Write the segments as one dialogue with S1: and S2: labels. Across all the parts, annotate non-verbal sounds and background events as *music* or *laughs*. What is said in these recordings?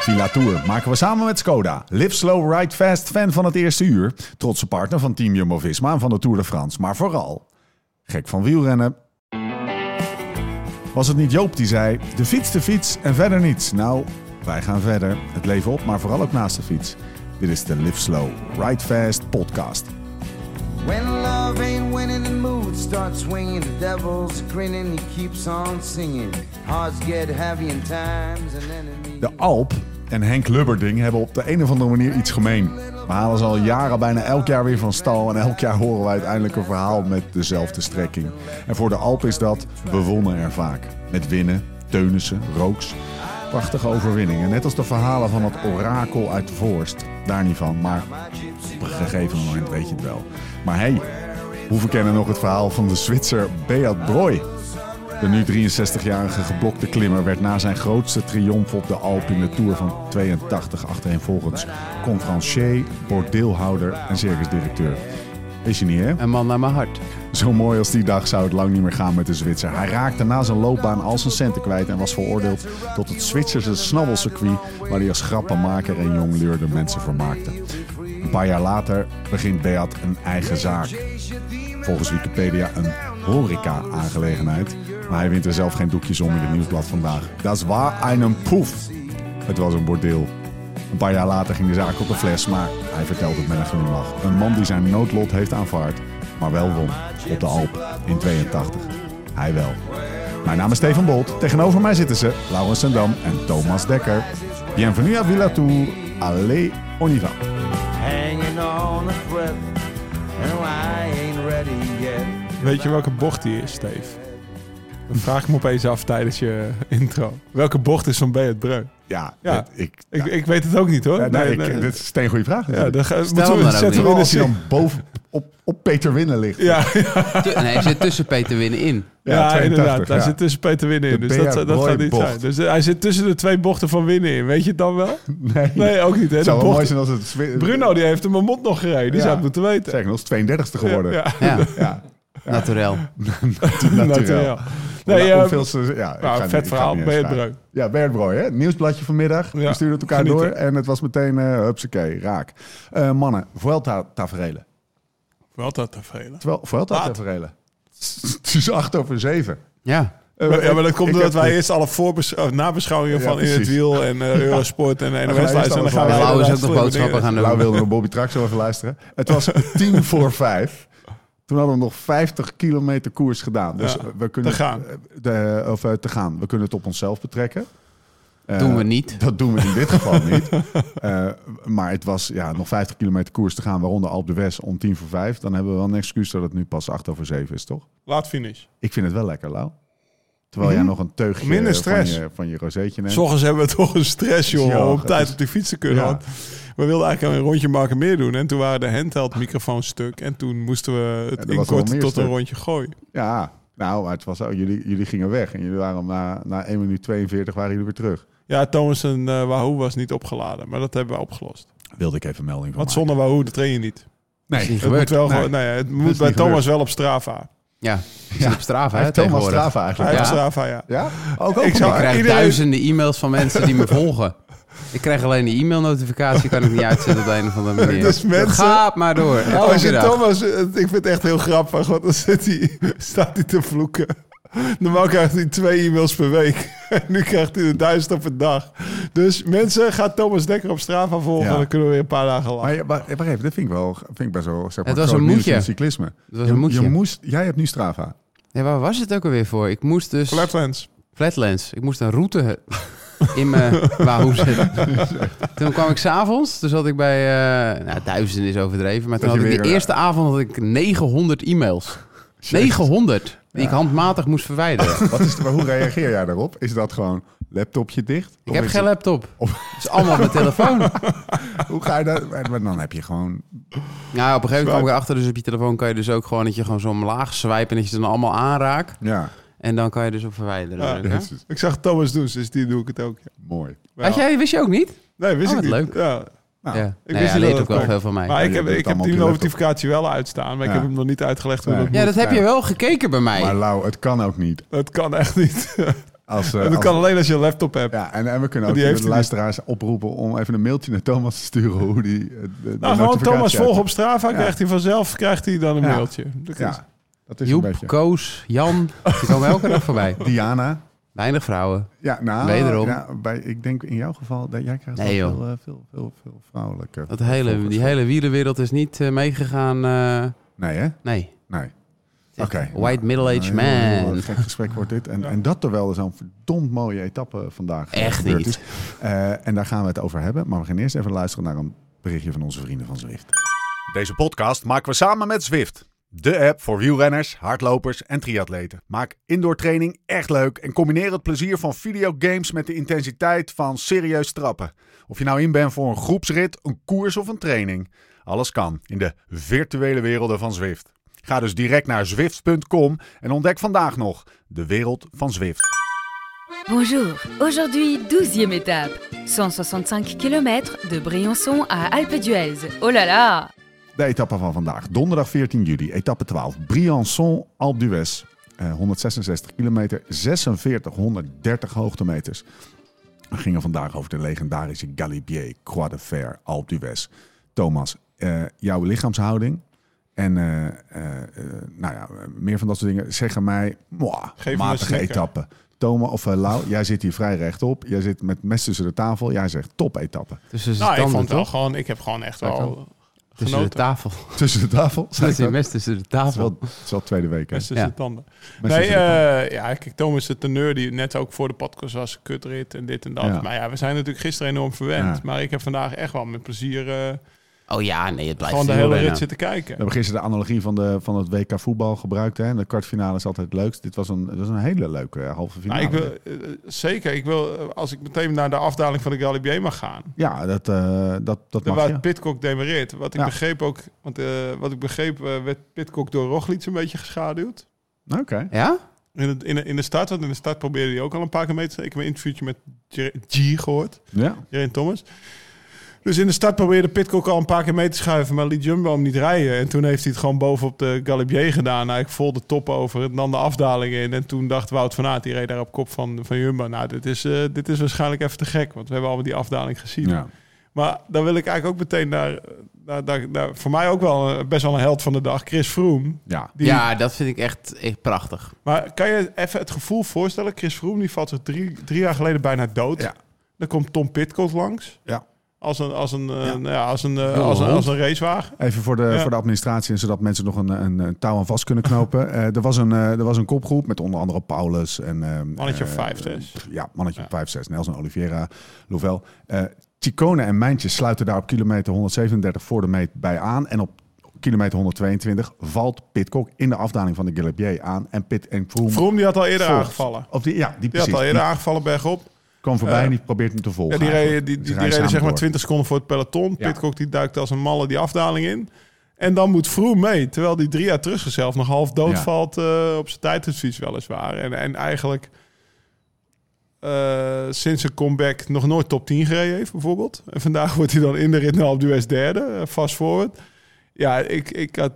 S1: Villa Tour maken we samen met Skoda. Live slow, ride fast, fan van het eerste uur. Trotse partner van Team Jumbo-Visma en van de Tour de France. Maar vooral, gek van wielrennen. Was het niet Joop die zei, de fiets, de fiets en verder niets. Nou, wij gaan verder. Het leven op, maar vooral ook naast de fiets. Dit is de Live Slow, Ride Fast podcast.
S2: When love ain't winning, the mood starts swinging. The devil's grinning, he keeps on singing. Hearts get heavy in times an enemy.
S1: De Alp en Henk Lubberding hebben op de een of andere manier iets gemeen. We halen ze al jaren bijna elk jaar weer van stal en elk jaar horen we uiteindelijk een verhaal met dezelfde strekking. En voor de Alp is dat, we wonnen er vaak. Met winnen, Teunissen, Rooks. Prachtige overwinningen, net als de verhalen van het orakel uit Voorst. Daar niet van, maar op een gegeven moment weet je het wel. Maar hey, hoe verkennen nog het verhaal van de Zwitser Beat Brooy? De nu 63-jarige geblokte klimmer werd na zijn grootste triomf op de Alp in de Tour van 82 achtereenvolgens conferencier, bordeelhouder en circusdirecteur. Is je niet, hè?
S3: Een man naar mijn hart.
S1: Zo mooi als die dag zou het lang niet meer gaan met de Zwitser. Hij raakte na zijn loopbaan al zijn centen kwijt en was veroordeeld tot het Zwitserse snabbelcircuit, waar hij als grappenmaker en jongleurde mensen vermaakte. Een paar jaar later begint Beat een eigen zaak. Volgens Wikipedia een horeca-aangelegenheid, maar hij wint er zelf geen doekjes om in het nieuwsblad vandaag. Dat war een poef. Het was een bordeel. Een paar jaar later ging de zaak op de fles, maar hij vertelt het met een glimlach. Een man die zijn noodlot heeft aanvaard, maar wel won op de Alp in 82. Hij wel. Mijn naam is Stefan Bolt. Tegenover mij zitten ze Laurens Sendam en Thomas Dekker. Bienvenue à Villa Tour. Allez, on y va.
S2: Hanging on a breath, and I ain't ready yet.
S4: Weet je welke bocht die is, Steve? Dat vraag ik me opeens af tijdens je *laughs* intro. Welke bocht is van Beat Breu?
S1: Ja,
S4: Ja.
S1: dat- ik...
S4: Ik, ik weet het ook niet hoor.
S1: Ja, nee,
S4: Nee,
S1: ik,
S4: nee.
S1: Dit is een goede vraag.
S4: ja, dan gaan moeten
S3: hem
S4: we
S3: maar ook
S4: zetten
S3: niet.
S4: we in de
S1: als hij
S4: zin.
S1: dan boven op, op Peter Winnen ligt.
S4: Ja,
S3: Tu- nee, hij zit tussen Peter Winnen in.
S4: *laughs* ja, inderdaad. Hij zit tussen Peter Winnen in.
S1: De
S4: Dus dat,
S1: Beat
S4: dat gaat niet
S1: Breu-bocht.
S4: zijn. Dus eh, hij zit tussen de twee bochten van Winnen in. Weet je het dan
S1: *laughs*
S4: wel?
S1: Nee,
S4: Nee, ook niet. Hè?
S1: het
S4: De
S1: zou wel mooi
S4: bocht...
S1: zijn als het... Zwi-
S4: Bruno die heeft hem een mond nog gereden. Die
S1: Ja.
S4: zou het moeten weten.
S1: Zeg, nog is 32e geworden.
S4: Ja,
S3: Ja,
S1: Ja,
S3: naturel.
S1: natuurlijk.
S4: *laughs* natuurlijk. Nee, eh,
S1: Hoeveelste... Ja, ik
S4: nou,
S1: ga niet-
S4: vet
S1: ik ga
S4: verhaal,
S1: niet eens
S4: Beat
S1: vragen.
S4: Breu.
S1: Ja, Beat Breu, hè? Nieuwsbladje vanmiddag.
S4: Ja,
S1: We stuurden het elkaar
S4: genieten.
S1: door en het was meteen, eh hupsakee, raak. Eh, mannen, Vuelta-taferelen.
S4: Wel dat te velen.
S1: Terwijl, Vuelta-taferelen. Het is acht over zeven.
S3: Ja.
S1: Eh,
S4: Ja, maar dat
S1: ik
S4: komt doordat
S1: heb-
S4: wij eerst alle voorbes- eh, nabeschouwingen
S1: Ja,
S4: van In het
S1: precies.
S4: Wiel
S1: *laughs*
S4: en eh, Eurosport en NOS
S1: gaan eerst
S4: luisteren. En dan
S1: alles
S4: gaan we
S1: luisteren.
S3: Lauw is ook nog
S4: slimme
S3: boodschappen
S4: dingen.
S3: gaan
S1: Lau
S3: doen.
S1: wilde naar Bobby Trax zo even luisteren. Het was
S4: *laughs*
S1: tien voor vijf. Toen hadden we nog 50 kilometer koers gedaan. Dus
S4: Ja,
S1: we kunnen
S4: te gaan.
S1: De, of, eh, te gaan. We kunnen het op onszelf betrekken. Eh,
S3: Doen we niet.
S1: Dat doen we in dit geval niet. *laughs* Eh, maar het was ja, nog 50 kilometer koers te gaan, waaronder Alp de West om tien voor vijf. Dan hebben we wel een excuus dat het nu pas acht over zeven is, toch?
S4: Laat finish.
S1: Ik vind het wel lekker, Lau. Terwijl jij nog een teugje
S4: Minder
S1: eh,
S4: stress.
S1: Van, je, van je rozeetje neemt.
S4: S ochtends hebben we toch een stress, joh,
S1: Ja,
S4: om
S1: dat
S4: tijd
S1: is-
S4: op die fiets te kunnen.
S1: Ja.
S4: want we wilden eigenlijk een rondje maken meer doen. En toen waren de handheld microfoons stuk. En toen moesten we
S1: er
S4: het
S1: was wel
S4: inkorten
S1: meer
S4: tot een
S1: stuk.
S4: rondje gooien.
S1: Ja, nou, maar het was ook, jullie, jullie gingen weg en jullie waren om na, na 1 minuut 42 waren jullie weer terug.
S4: Ja, Thomas en eh, Wahoo was niet opgeladen. Maar dat hebben we opgelost.
S1: Wilde ik even melding van
S4: Want zonder Wahoo train je niet.
S3: is niet
S1: Nee,
S4: Het moet,
S3: gebeurd.
S4: wel
S1: Nee.
S4: gewoon, nou ja, het
S1: is
S4: moet
S1: niet
S4: bij Thomas
S1: gebeurd.
S4: wel op Strava.
S3: Ja, hij zit op Strava
S1: hij
S3: hè,
S1: heeft Thomas
S3: tegenwoordig.
S1: Strava
S4: Hij
S1: eigenlijk.
S4: heeft
S3: Ja.
S4: op Strava, ja.
S1: Ja? Ook, ook
S3: Ik
S4: Ik zou-
S1: een paar.
S3: krijg
S4: Iedereen-
S3: duizenden e-mails van mensen die me volgen. Ik krijg alleen die e-mailnotificatie, kan ik niet uitzetten op de een of andere manier.
S4: Dus mensen-
S3: Gaat maar door.
S4: Oh, als
S3: Elke
S4: je
S3: dag.
S4: Thomas, eh, ik vind het echt heel grappig, want dan zit hij, staat hij te vloeken. Normaal krijgt hij twee e-mails per week. *laughs* En nu krijgt hij er duizend op een dag. Dus mensen, ga Thomas Dekker op Strava volgen.
S1: Ja.
S4: Dan kunnen we weer een paar dagen lachen.
S1: Maar, je- maar, maar even, dat vind ik wel vind ik best wel zeg maar,
S3: was
S1: groot
S3: een
S1: nieuws
S3: moetje.
S1: in het cyclisme. Het
S3: was een moetje.
S1: Je moest, jij hebt nu Strava.
S3: Ja, waar was het ook alweer voor? Ik moest dus...
S4: Flatlands.
S3: Flatlands. Ik moest een route *laughs* in mijn Wahoo zetten.
S4: *laughs*
S3: Toen kwam ik s'avonds, toen zat ik bij, eh, nou duizenden is overdreven, maar toen
S1: Dat
S3: had
S1: je
S3: ik de
S4: eh,
S1: weer-
S3: eerste avond had ik 900 e-mails. 900 die ik handmatig moest
S4: *laughs*
S3: verwijderen.
S1: Wat is de, maar hoe reageer jij daarop? Is dat gewoon laptopje dicht?
S3: Ik
S1: Of
S3: heb
S1: is
S3: geen
S1: het-
S3: laptop. Het is allemaal op mijn
S4: *laughs*
S3: telefoon.
S1: Hoe ga je dat? Maar maar dan heb je gewoon...
S3: Nou, op een gegeven moment kwam ik
S4: Zwaar.
S3: erachter, dus op je telefoon kan je dus ook gewoon dat je gewoon zo omlaag swipen en dat je ze dan allemaal aanraakt.
S1: Ja,
S3: En dan kan je dus op verwijderen.
S4: Ja,
S3: drukken.
S1: dat is
S4: Ik zag Thomas doen, dus die doe ik het ook. ja.
S1: mooi.
S3: Had jij, wist je ook niet?
S4: Nee, wist
S3: Oh,
S4: ik niet.
S3: wat leuk.
S4: Ja.
S1: Nou,
S3: ja,
S4: ik
S3: Nee,
S4: wist
S3: hij
S4: niet
S3: leert
S4: dat
S3: ook wel
S4: dat
S3: veel van mij.
S4: Maar
S1: Ja,
S4: ik
S1: je
S4: heb,
S1: doet
S4: ik heb
S1: allemaal
S4: die
S1: op je laptop.
S4: notificatie wel uitstaan. Maar
S1: Ja.
S4: ik heb hem nog niet uitgelegd hoe *laughs*
S1: Nee.
S4: dat
S3: Ja,
S4: moet.
S3: dat heb je wel gekeken bij mij.
S1: Maar Lau, het kan ook niet.
S4: Dat kan echt niet.
S1: Als, eh,
S4: En dat
S1: als-
S4: kan alleen als je een laptop hebt.
S1: ja, en, en we kunnen ook
S4: Die
S1: de
S4: heeft hij
S1: luisteraars oproepen om even een mailtje naar Thomas te sturen hoe die. eh, de- de
S4: nou, gewoon
S1: notificatie
S4: Thomas
S1: uit-
S4: volgen op Strava.
S1: Ja.
S4: Krijgt hij vanzelf krijgt hij dan een
S1: Ja.
S4: mailtje. Dat is-
S1: Ja, dat is een
S3: Joep,
S1: beetje.
S3: Koos, Jan. *laughs* Die komen elke dag voorbij.
S1: Diana.
S3: Weinig vrouwen.
S1: Ja, nou,
S3: Wederom.
S1: ja, bij, ik denk in jouw geval dat jij krijgt
S3: Nee,
S1: wel
S3: joh.
S1: veel, eh, veel, veel, veel vrouwelijke.
S3: Dat hele, die hele wielenwereld is niet eh, meegegaan. eh,
S1: Nee, hè?
S3: nee.
S1: Nee. Oké.
S3: Echt White middle-aged
S1: Nou, een heel,
S3: man.
S1: eh, gek gesprek wordt dit. En, en dat terwijl er zo'n verdomd mooie etappe vandaag eh,
S3: Echt
S1: gebeurd
S3: niet.
S1: is. Eh, en daar gaan we het over hebben. Maar we gaan eerst even luisteren naar een berichtje van onze vrienden van Zwift.
S5: Deze podcast maken we samen met Zwift. De app voor wielrenners, hardlopers en triatleten. Maak indoor training echt leuk en combineer het plezier van videogames met de intensiteit van serieus trappen. Of je nou in bent voor een groepsrit, een koers of een training. Alles kan in de virtuele werelden van Zwift. Ga dus direct naar zwift.com en ontdek vandaag nog de wereld van Zwift.
S6: Bonjour, aujourd'hui 12e étape, 165 km de Briançon à Alpe d'Huez. Oh là là
S1: De etappe van vandaag. Donderdag 14 juli, etappe 12. Briançon, Alpe d'Huez. Eh, 166 kilometer, 4630 hoogtemeters. We gingen vandaag over de legendarische Galibier Croix de Fer Alpe d'Huez. Thomas, eh, jouw lichaamshouding en eh, eh, eh, nou ja, meer van dat soort dingen zeggen mij mwah,
S4: Geef me
S1: matige
S4: een snikker.
S1: etappe. Thomas of eh, Lau, jij zit hier vrij rechtop. Jij zit met mes tussen de tafel. Jij zegt top etappe.
S3: Tussen zijn
S4: Nou, ik
S3: tanden,
S4: vond wel
S3: toch?
S4: gewoon... Ik heb gewoon echt
S3: Kijk
S4: wel
S3: Tussen de
S4: genoten.
S1: *laughs*
S3: tafel.
S1: Tussen de tafel? Zei ik
S3: Tussen
S1: dat?
S3: de mes tussen de
S1: Het is wel,
S3: tafel.
S1: het is wel tweede week. hè?
S4: Mes tussen
S3: Ja.
S4: de tanden.
S1: Mes
S4: nee,
S1: tussen de tafel.
S4: eh, ja, kijk, Thomas is de teneur die net ook voor de podcast was. Kutrit en dit en dat.
S1: Ja.
S4: Maar ja, we zijn natuurlijk gisteren enorm verwend.
S1: Ja.
S4: Maar ik heb vandaag echt wel met plezier eh,
S3: Oh ja, nee, het blijft
S4: gewoon de
S3: heel
S4: hele
S3: rennen.
S4: rit zitten kijken.
S1: We hebben gisteren de analogie van, de, van het WK voetbal gebruikt. Hè? En de kwartfinale is altijd het leukst. Dit was een, dit was een hele leuke eh, halve
S4: Nou,
S1: finale.
S4: ik wil, eh, zeker, ik wil, eh, als ik meteen naar de afdaling van de Galibier mag gaan.
S1: Ja, dat, eh dat, dat mag
S4: Daar waar
S1: je.
S4: Pitcock demereert. Wat ik
S1: Ja.
S4: begreep ook, want eh, wat ik begreep, eh, werd Pitcock door Roglic een beetje geschaduwd.
S1: Oké.
S3: Ja?
S4: In, het, in, de- in de start, want in de start probeerde hij ook al een paar keer mee te Ik heb een interviewtje met Jer- G gehoord,
S1: Ja.
S4: Jerry Thomas. Dus in de start probeerde Pitcock al een paar keer mee te schuiven, maar liet Jumbo hem niet rijden. En toen heeft hij het gewoon bovenop de Galibier gedaan. Hij vol de top over, het nam de afdaling in. En toen dacht Wout van Aert, die reed daar op kop van, van Jumbo. Nou, dit is, eh, dit is waarschijnlijk even te gek, want we hebben allemaal die afdaling gezien.
S1: ja.
S4: Maar dan wil ik eigenlijk ook meteen naar, naar, naar- naar- voor mij ook wel eh, best wel een held van de dag, Chris Froome.
S1: Ja.
S4: Die-
S3: Ja, dat vind ik echt, echt prachtig.
S4: Maar kan je even het gevoel voorstellen? Chris Froome die valt er drie, drie jaar geleden bijna dood.
S1: Ja.
S4: Dan komt Tom Pitcock langs.
S1: Ja.
S4: Als een, als een, eh,
S1: Ja.
S4: nou ja, als een, eh,
S3: Heel
S4: als een,
S3: hond.
S4: als een racewagen.
S1: Even voor de,
S4: Ja.
S1: voor de administratie, en zodat mensen nog een, een, een touw aan vast kunnen
S4: *laughs*
S1: knopen. Eh, er, was een, eh, er was een kopgroep met onder andere Paulus en... ehm,
S4: Mannetje
S1: eh,
S4: of vijf, zes.
S1: pff, Ja, mannetje
S4: Ja.
S1: op 5, 6. Nelson Oliveira, Louvel. Eh Ticone en Mijntjes sluiten daar op kilometer 137 voor de meet bij aan. En op kilometer 122 valt Pitcock in de afdaling van de Galibier aan. En Pit en Froome...
S4: Froome die had al eerder
S1: volgt.
S4: aangevallen.
S1: Of die, ja, die
S4: Die had
S1: precies.
S4: al
S1: Die
S4: eerder aangevallen bergop.
S1: kwam voorbij
S4: eh,
S1: en die probeert hem te volgen.
S4: Ja, die reden,
S1: eigenlijk.
S4: die,
S1: Dus
S4: die, die
S1: hij
S4: reden
S1: samen
S4: zeg maar
S1: door.
S4: 20 seconden voor het peloton.
S1: Ja.
S4: Pitcock die duikt als een malle die afdaling in. En dan moet Froome mee. Terwijl die drie jaar terug zichzelf nog half dood
S1: Ja.
S4: valt eh, op zijn tijdsadvies weliswaar. En, en eigenlijk eh, sinds zijn comeback nog nooit top 10 gereden heeft bijvoorbeeld. En vandaag wordt hij dan in de rit naar Alpe d'Huez derde. eh, Fast forward. Ja, ik, ik had...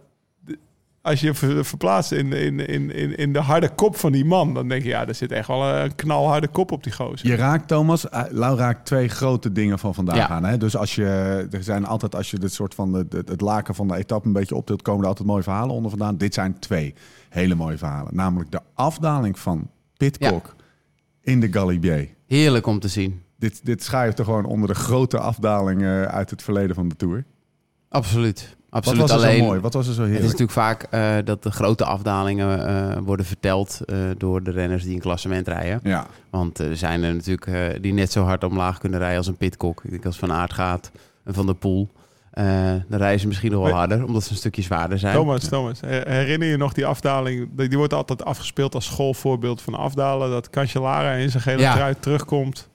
S4: Als je je ver- verplaatst in, in, in, in, in de harde kop van die man... dan denk je, ja, er zit echt wel een knalharde kop op die gozer.
S1: Je raakt, Thomas, eh, Lau raakt twee grote dingen van vandaag
S3: Ja.
S1: aan. Hè? Dus als je, er zijn altijd, als je dit soort van de, de- het laken van de etappe een beetje optilt, komen er altijd mooie verhalen onder vandaan. Dit zijn twee hele mooie verhalen. Namelijk de afdaling van Pitcock in de Galibier.
S3: Heerlijk om te zien.
S1: Dit, dit schuift er gewoon onder de grote afdalingen uit het verleden van de Tour.
S3: Absoluut.
S1: Wat
S3: Absoluut.
S1: was er
S3: Alleen,
S1: zo mooi? Wat was er zo
S3: Het is
S1: heerlijk?
S3: natuurlijk vaak eh, dat de grote afdalingen eh, worden verteld eh, door de renners die een klassement rijden.
S1: Ja,
S3: Want eh, er zijn er natuurlijk eh, die net zo hard omlaag kunnen rijden als een pitkok. Ik denk als Van Aert gaat en Van der Poel. eh, dan rijden ze misschien nog wel
S4: Maar-
S3: harder, omdat ze een stukje zwaarder zijn.
S4: Thomas, Thomas, her- herinner je nog die afdaling? Die die wordt altijd afgespeeld als schoolvoorbeeld van afdalen. Dat Cancellara in zijn gele
S3: Ja.
S4: trui terugkomt.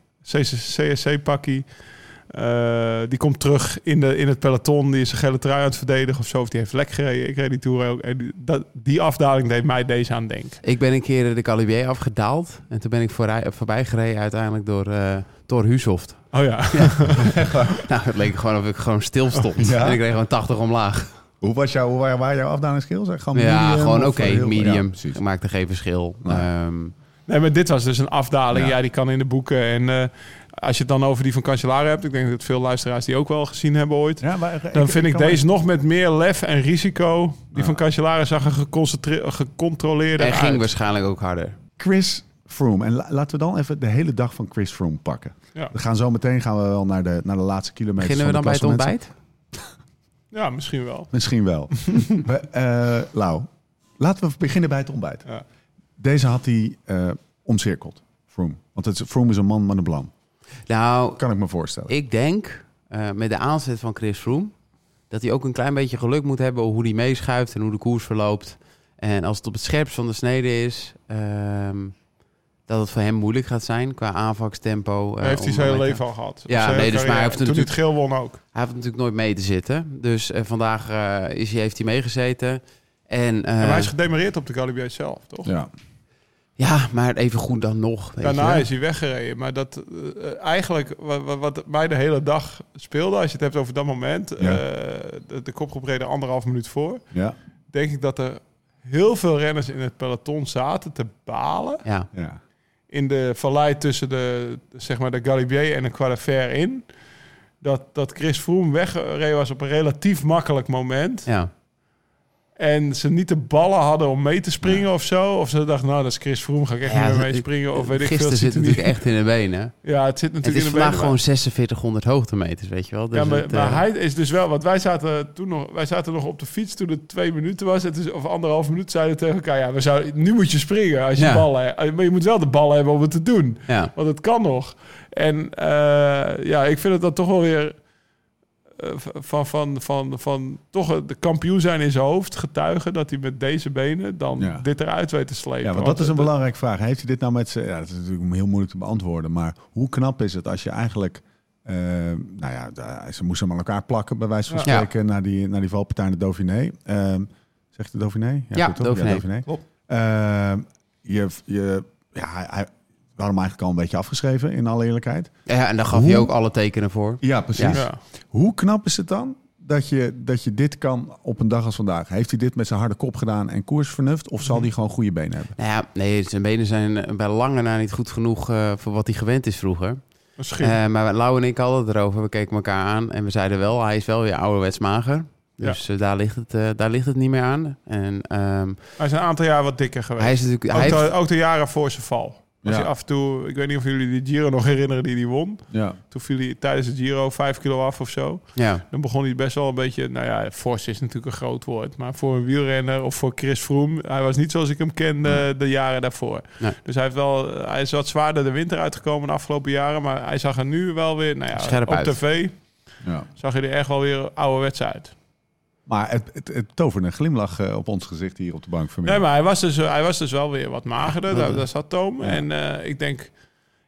S4: CSC-pakkie. eh, die komt terug in, de, in het peloton. Die is zijn gele trui aan het verdedigen of zo. Of die heeft lek gereden. Ik reed die tour ook. En die, dat, die afdaling deed mij deze aan denken.
S3: Ik ben een keer de Calibier afgedaald. En toen ben ik voorbij, voorbij gereden uiteindelijk door eh Thor Husoft.
S4: Oh ja.
S3: *laughs* Nou, het leek gewoon of ik gewoon stil stond.
S1: Oh, Ja?
S3: En ik reed gewoon 80 omlaag.
S1: hoe was jouw, hoe waren, waren jouw afdalingsskills? Gewoon
S3: ja,
S1: medium
S3: gewoon
S1: of eh,
S3: oké,
S1: heel- ja,
S3: medium.
S1: precies.
S3: maakte geen verschil.
S1: Nee.
S3: Ehm,
S4: *laughs* Nee, maar dit was dus een afdaling. Ja, die kan in de boeken. En eh, als je het dan over die van Cancellara hebt... ik denk dat veel luisteraars die ook wel gezien hebben ooit...
S1: Ja, maar eh, ik-
S4: dan vind ik,
S1: kan
S4: deze nog met meer lef en risico. Die van Cancellara zag er geconcentreerd, gecontroleerd
S3: En
S4: uit.
S3: ging waarschijnlijk ook harder.
S1: Chris Froome. En la- laten we dan even de hele dag van Chris Froome pakken.
S4: Ja.
S1: We gaan zo meteen gaan we wel naar de, naar de laatste kilometers.
S3: Beginnen we dan
S1: van
S3: bij
S1: de
S3: het ontbijt?
S4: Ja, misschien wel.
S1: Misschien
S3: *laughs*
S1: wel. we, eh, Lau, laten we beginnen bij het ontbijt.
S4: Ja.
S1: Deze had hij eh, omcirkeld, Froome. Want het, is- Froome is een man met een plan.
S3: Nou,
S1: Kan ik me voorstellen.
S3: ik denk eh, met de aanzet van Chris Froome... dat hij ook een klein beetje geluk moet hebben... hoe hij meeschuift en hoe de koers verloopt. En als het op het scherpst van de snede is... ehm, dat het voor hem moeilijk gaat zijn qua aanvakstempo. eh,
S4: heeft hij
S3: om
S4: zijn hele
S3: lekker-
S4: leven al gehad.
S3: Ja,
S4: Zijn hele
S3: nee, dus maar hij
S4: carrière.
S3: heeft
S4: Toen hij het
S3: natuurlijk-
S4: geel won ook.
S3: Hij heeft natuurlijk nooit mee te zitten. Dus eh, vandaag eh, is hij, heeft hij meegezeten. En, eh,
S4: En hij is gedemareerd op de Galibier zelf, toch?
S1: Ja.
S3: ja, maar even goed dan nog. Weet
S4: Daarna
S3: je.
S4: is hij weggereden. Maar dat eh, eh, eigenlijk wa- wa- wat, mij de hele dag speelde, als je het hebt over dat moment, eh, de, de kopgroep reden anderhalf minuut voor,
S1: Ja.
S4: denk ik dat er heel veel renners in het peloton zaten te balen
S3: Ja,
S1: ja.
S4: in de vallei tussen de, zeg maar de Galibier en de Quadrifer in. Dat, dat Chris Froome weggereden was op een relatief makkelijk moment.
S3: ja.
S4: En ze niet de ballen hadden om mee te springen of zo. Of ze dachten, nou, dat is Chris Froome, ga ik echt
S3: Ja,
S4: niet meer mee
S3: het-
S4: springen. Of weet ik veel.
S3: Gisteren
S4: het
S3: zit
S4: ziet er niet-
S3: natuurlijk echt in de benen.
S4: Ja, het zit
S3: Het
S4: natuurlijk
S3: is
S4: in de benen,
S3: vandaag
S4: maar-
S3: gewoon 4600 hoogtemeters, weet je wel. Dus
S4: ja, maar,
S3: het, eh,
S4: maar hij is dus wel, want wij zaten toen nog, wij zaten nog op de fiets toen het twee minuten was, het is, of anderhalf minuut, zeiden we tegen elkaar, ja, we zouden, nu moet je springen als je
S3: Ja.
S4: ballen, hebt. maar je moet wel de ballen hebben om het te doen,
S3: ja.
S4: want het kan nog. En eh, ja, ik vind het dan toch wel weer eh, van, van, van, van toch de kampioen zijn in zijn hoofd getuigen dat hij met deze benen dan
S1: Ja.
S4: dit eruit weet te slepen.
S1: Ja, want dat is een belangrijke vraag. Heeft hij dit nou met zijn... Ja, dat is natuurlijk heel moeilijk te beantwoorden. Maar hoe knap is het als je eigenlijk... eh, nou ja, daar- ze moesten hem aan elkaar plakken, bij wijze van
S4: Ja.
S1: spreken, naar, die, naar die valpartij in de Dauphiné. Ehm, zegt de Dauphiné?
S3: Ja,
S1: goed, toch?
S3: Dauphiné.
S1: Klopt. Ehm, je, je, ja, hij, hij, we hadden hem eigenlijk al een beetje afgeschreven, in alle eerlijkheid.
S3: ja, en daar gaf
S1: Hoe-
S3: hij ook alle tekenen voor.
S1: Ja, precies.
S4: Ja.
S1: Hoe knap is het dan dat je, dat je dit kan op een dag als vandaag? Heeft hij dit met zijn harde kop gedaan en koersvernuft? Of zal hij gewoon goede benen hebben?
S3: Nou ja, nee, zijn benen zijn eh, bij lange na niet goed genoeg eh, voor wat hij gewend is vroeger.
S4: Misschien.
S3: Eh, maar Lau en ik hadden het erover. We keken elkaar aan en we zeiden wel, hij is wel weer ouderwets mager. Dus eh, daar, ligt het, eh, daar ligt het niet meer aan. En ehm,
S4: hij is een aantal jaar wat dikker geweest.
S3: hij is natuurlijk...
S4: Ook,
S3: Hij
S4: de,
S3: heeft,
S4: ook de jaren voor zijn val. Als
S1: Ja.
S4: hij af en toe, ik weet niet of jullie die Giro nog herinneren die hij won.
S1: Ja.
S4: Toen viel hij tijdens de Giro vijf kilo af of zo.
S3: ja,
S4: Dan begon hij best wel een beetje, nou ja, fors is natuurlijk een groot woord. Maar voor een wielrenner of voor Chris Froome, hij was niet zoals ik hem kende de jaren daarvoor.
S3: Nee.
S4: Dus hij, heeft wel, hij is wat zwaarder de winter uitgekomen de afgelopen jaren. Maar hij zag er nu wel weer, nou ja,
S3: Scherp
S4: op
S3: uit.
S4: tv
S1: ja.
S4: zag hij er echt wel weer ouderwets uit.
S1: Maar het, het, het toverde een glimlach eh, op ons gezicht hier op de bank
S4: Nee,
S1: vanmiddag.
S4: maar hij was dus, hij was dus wel weer wat magerder. Daar, daar zat Toom.
S1: Ja.
S4: En eh, ik denk...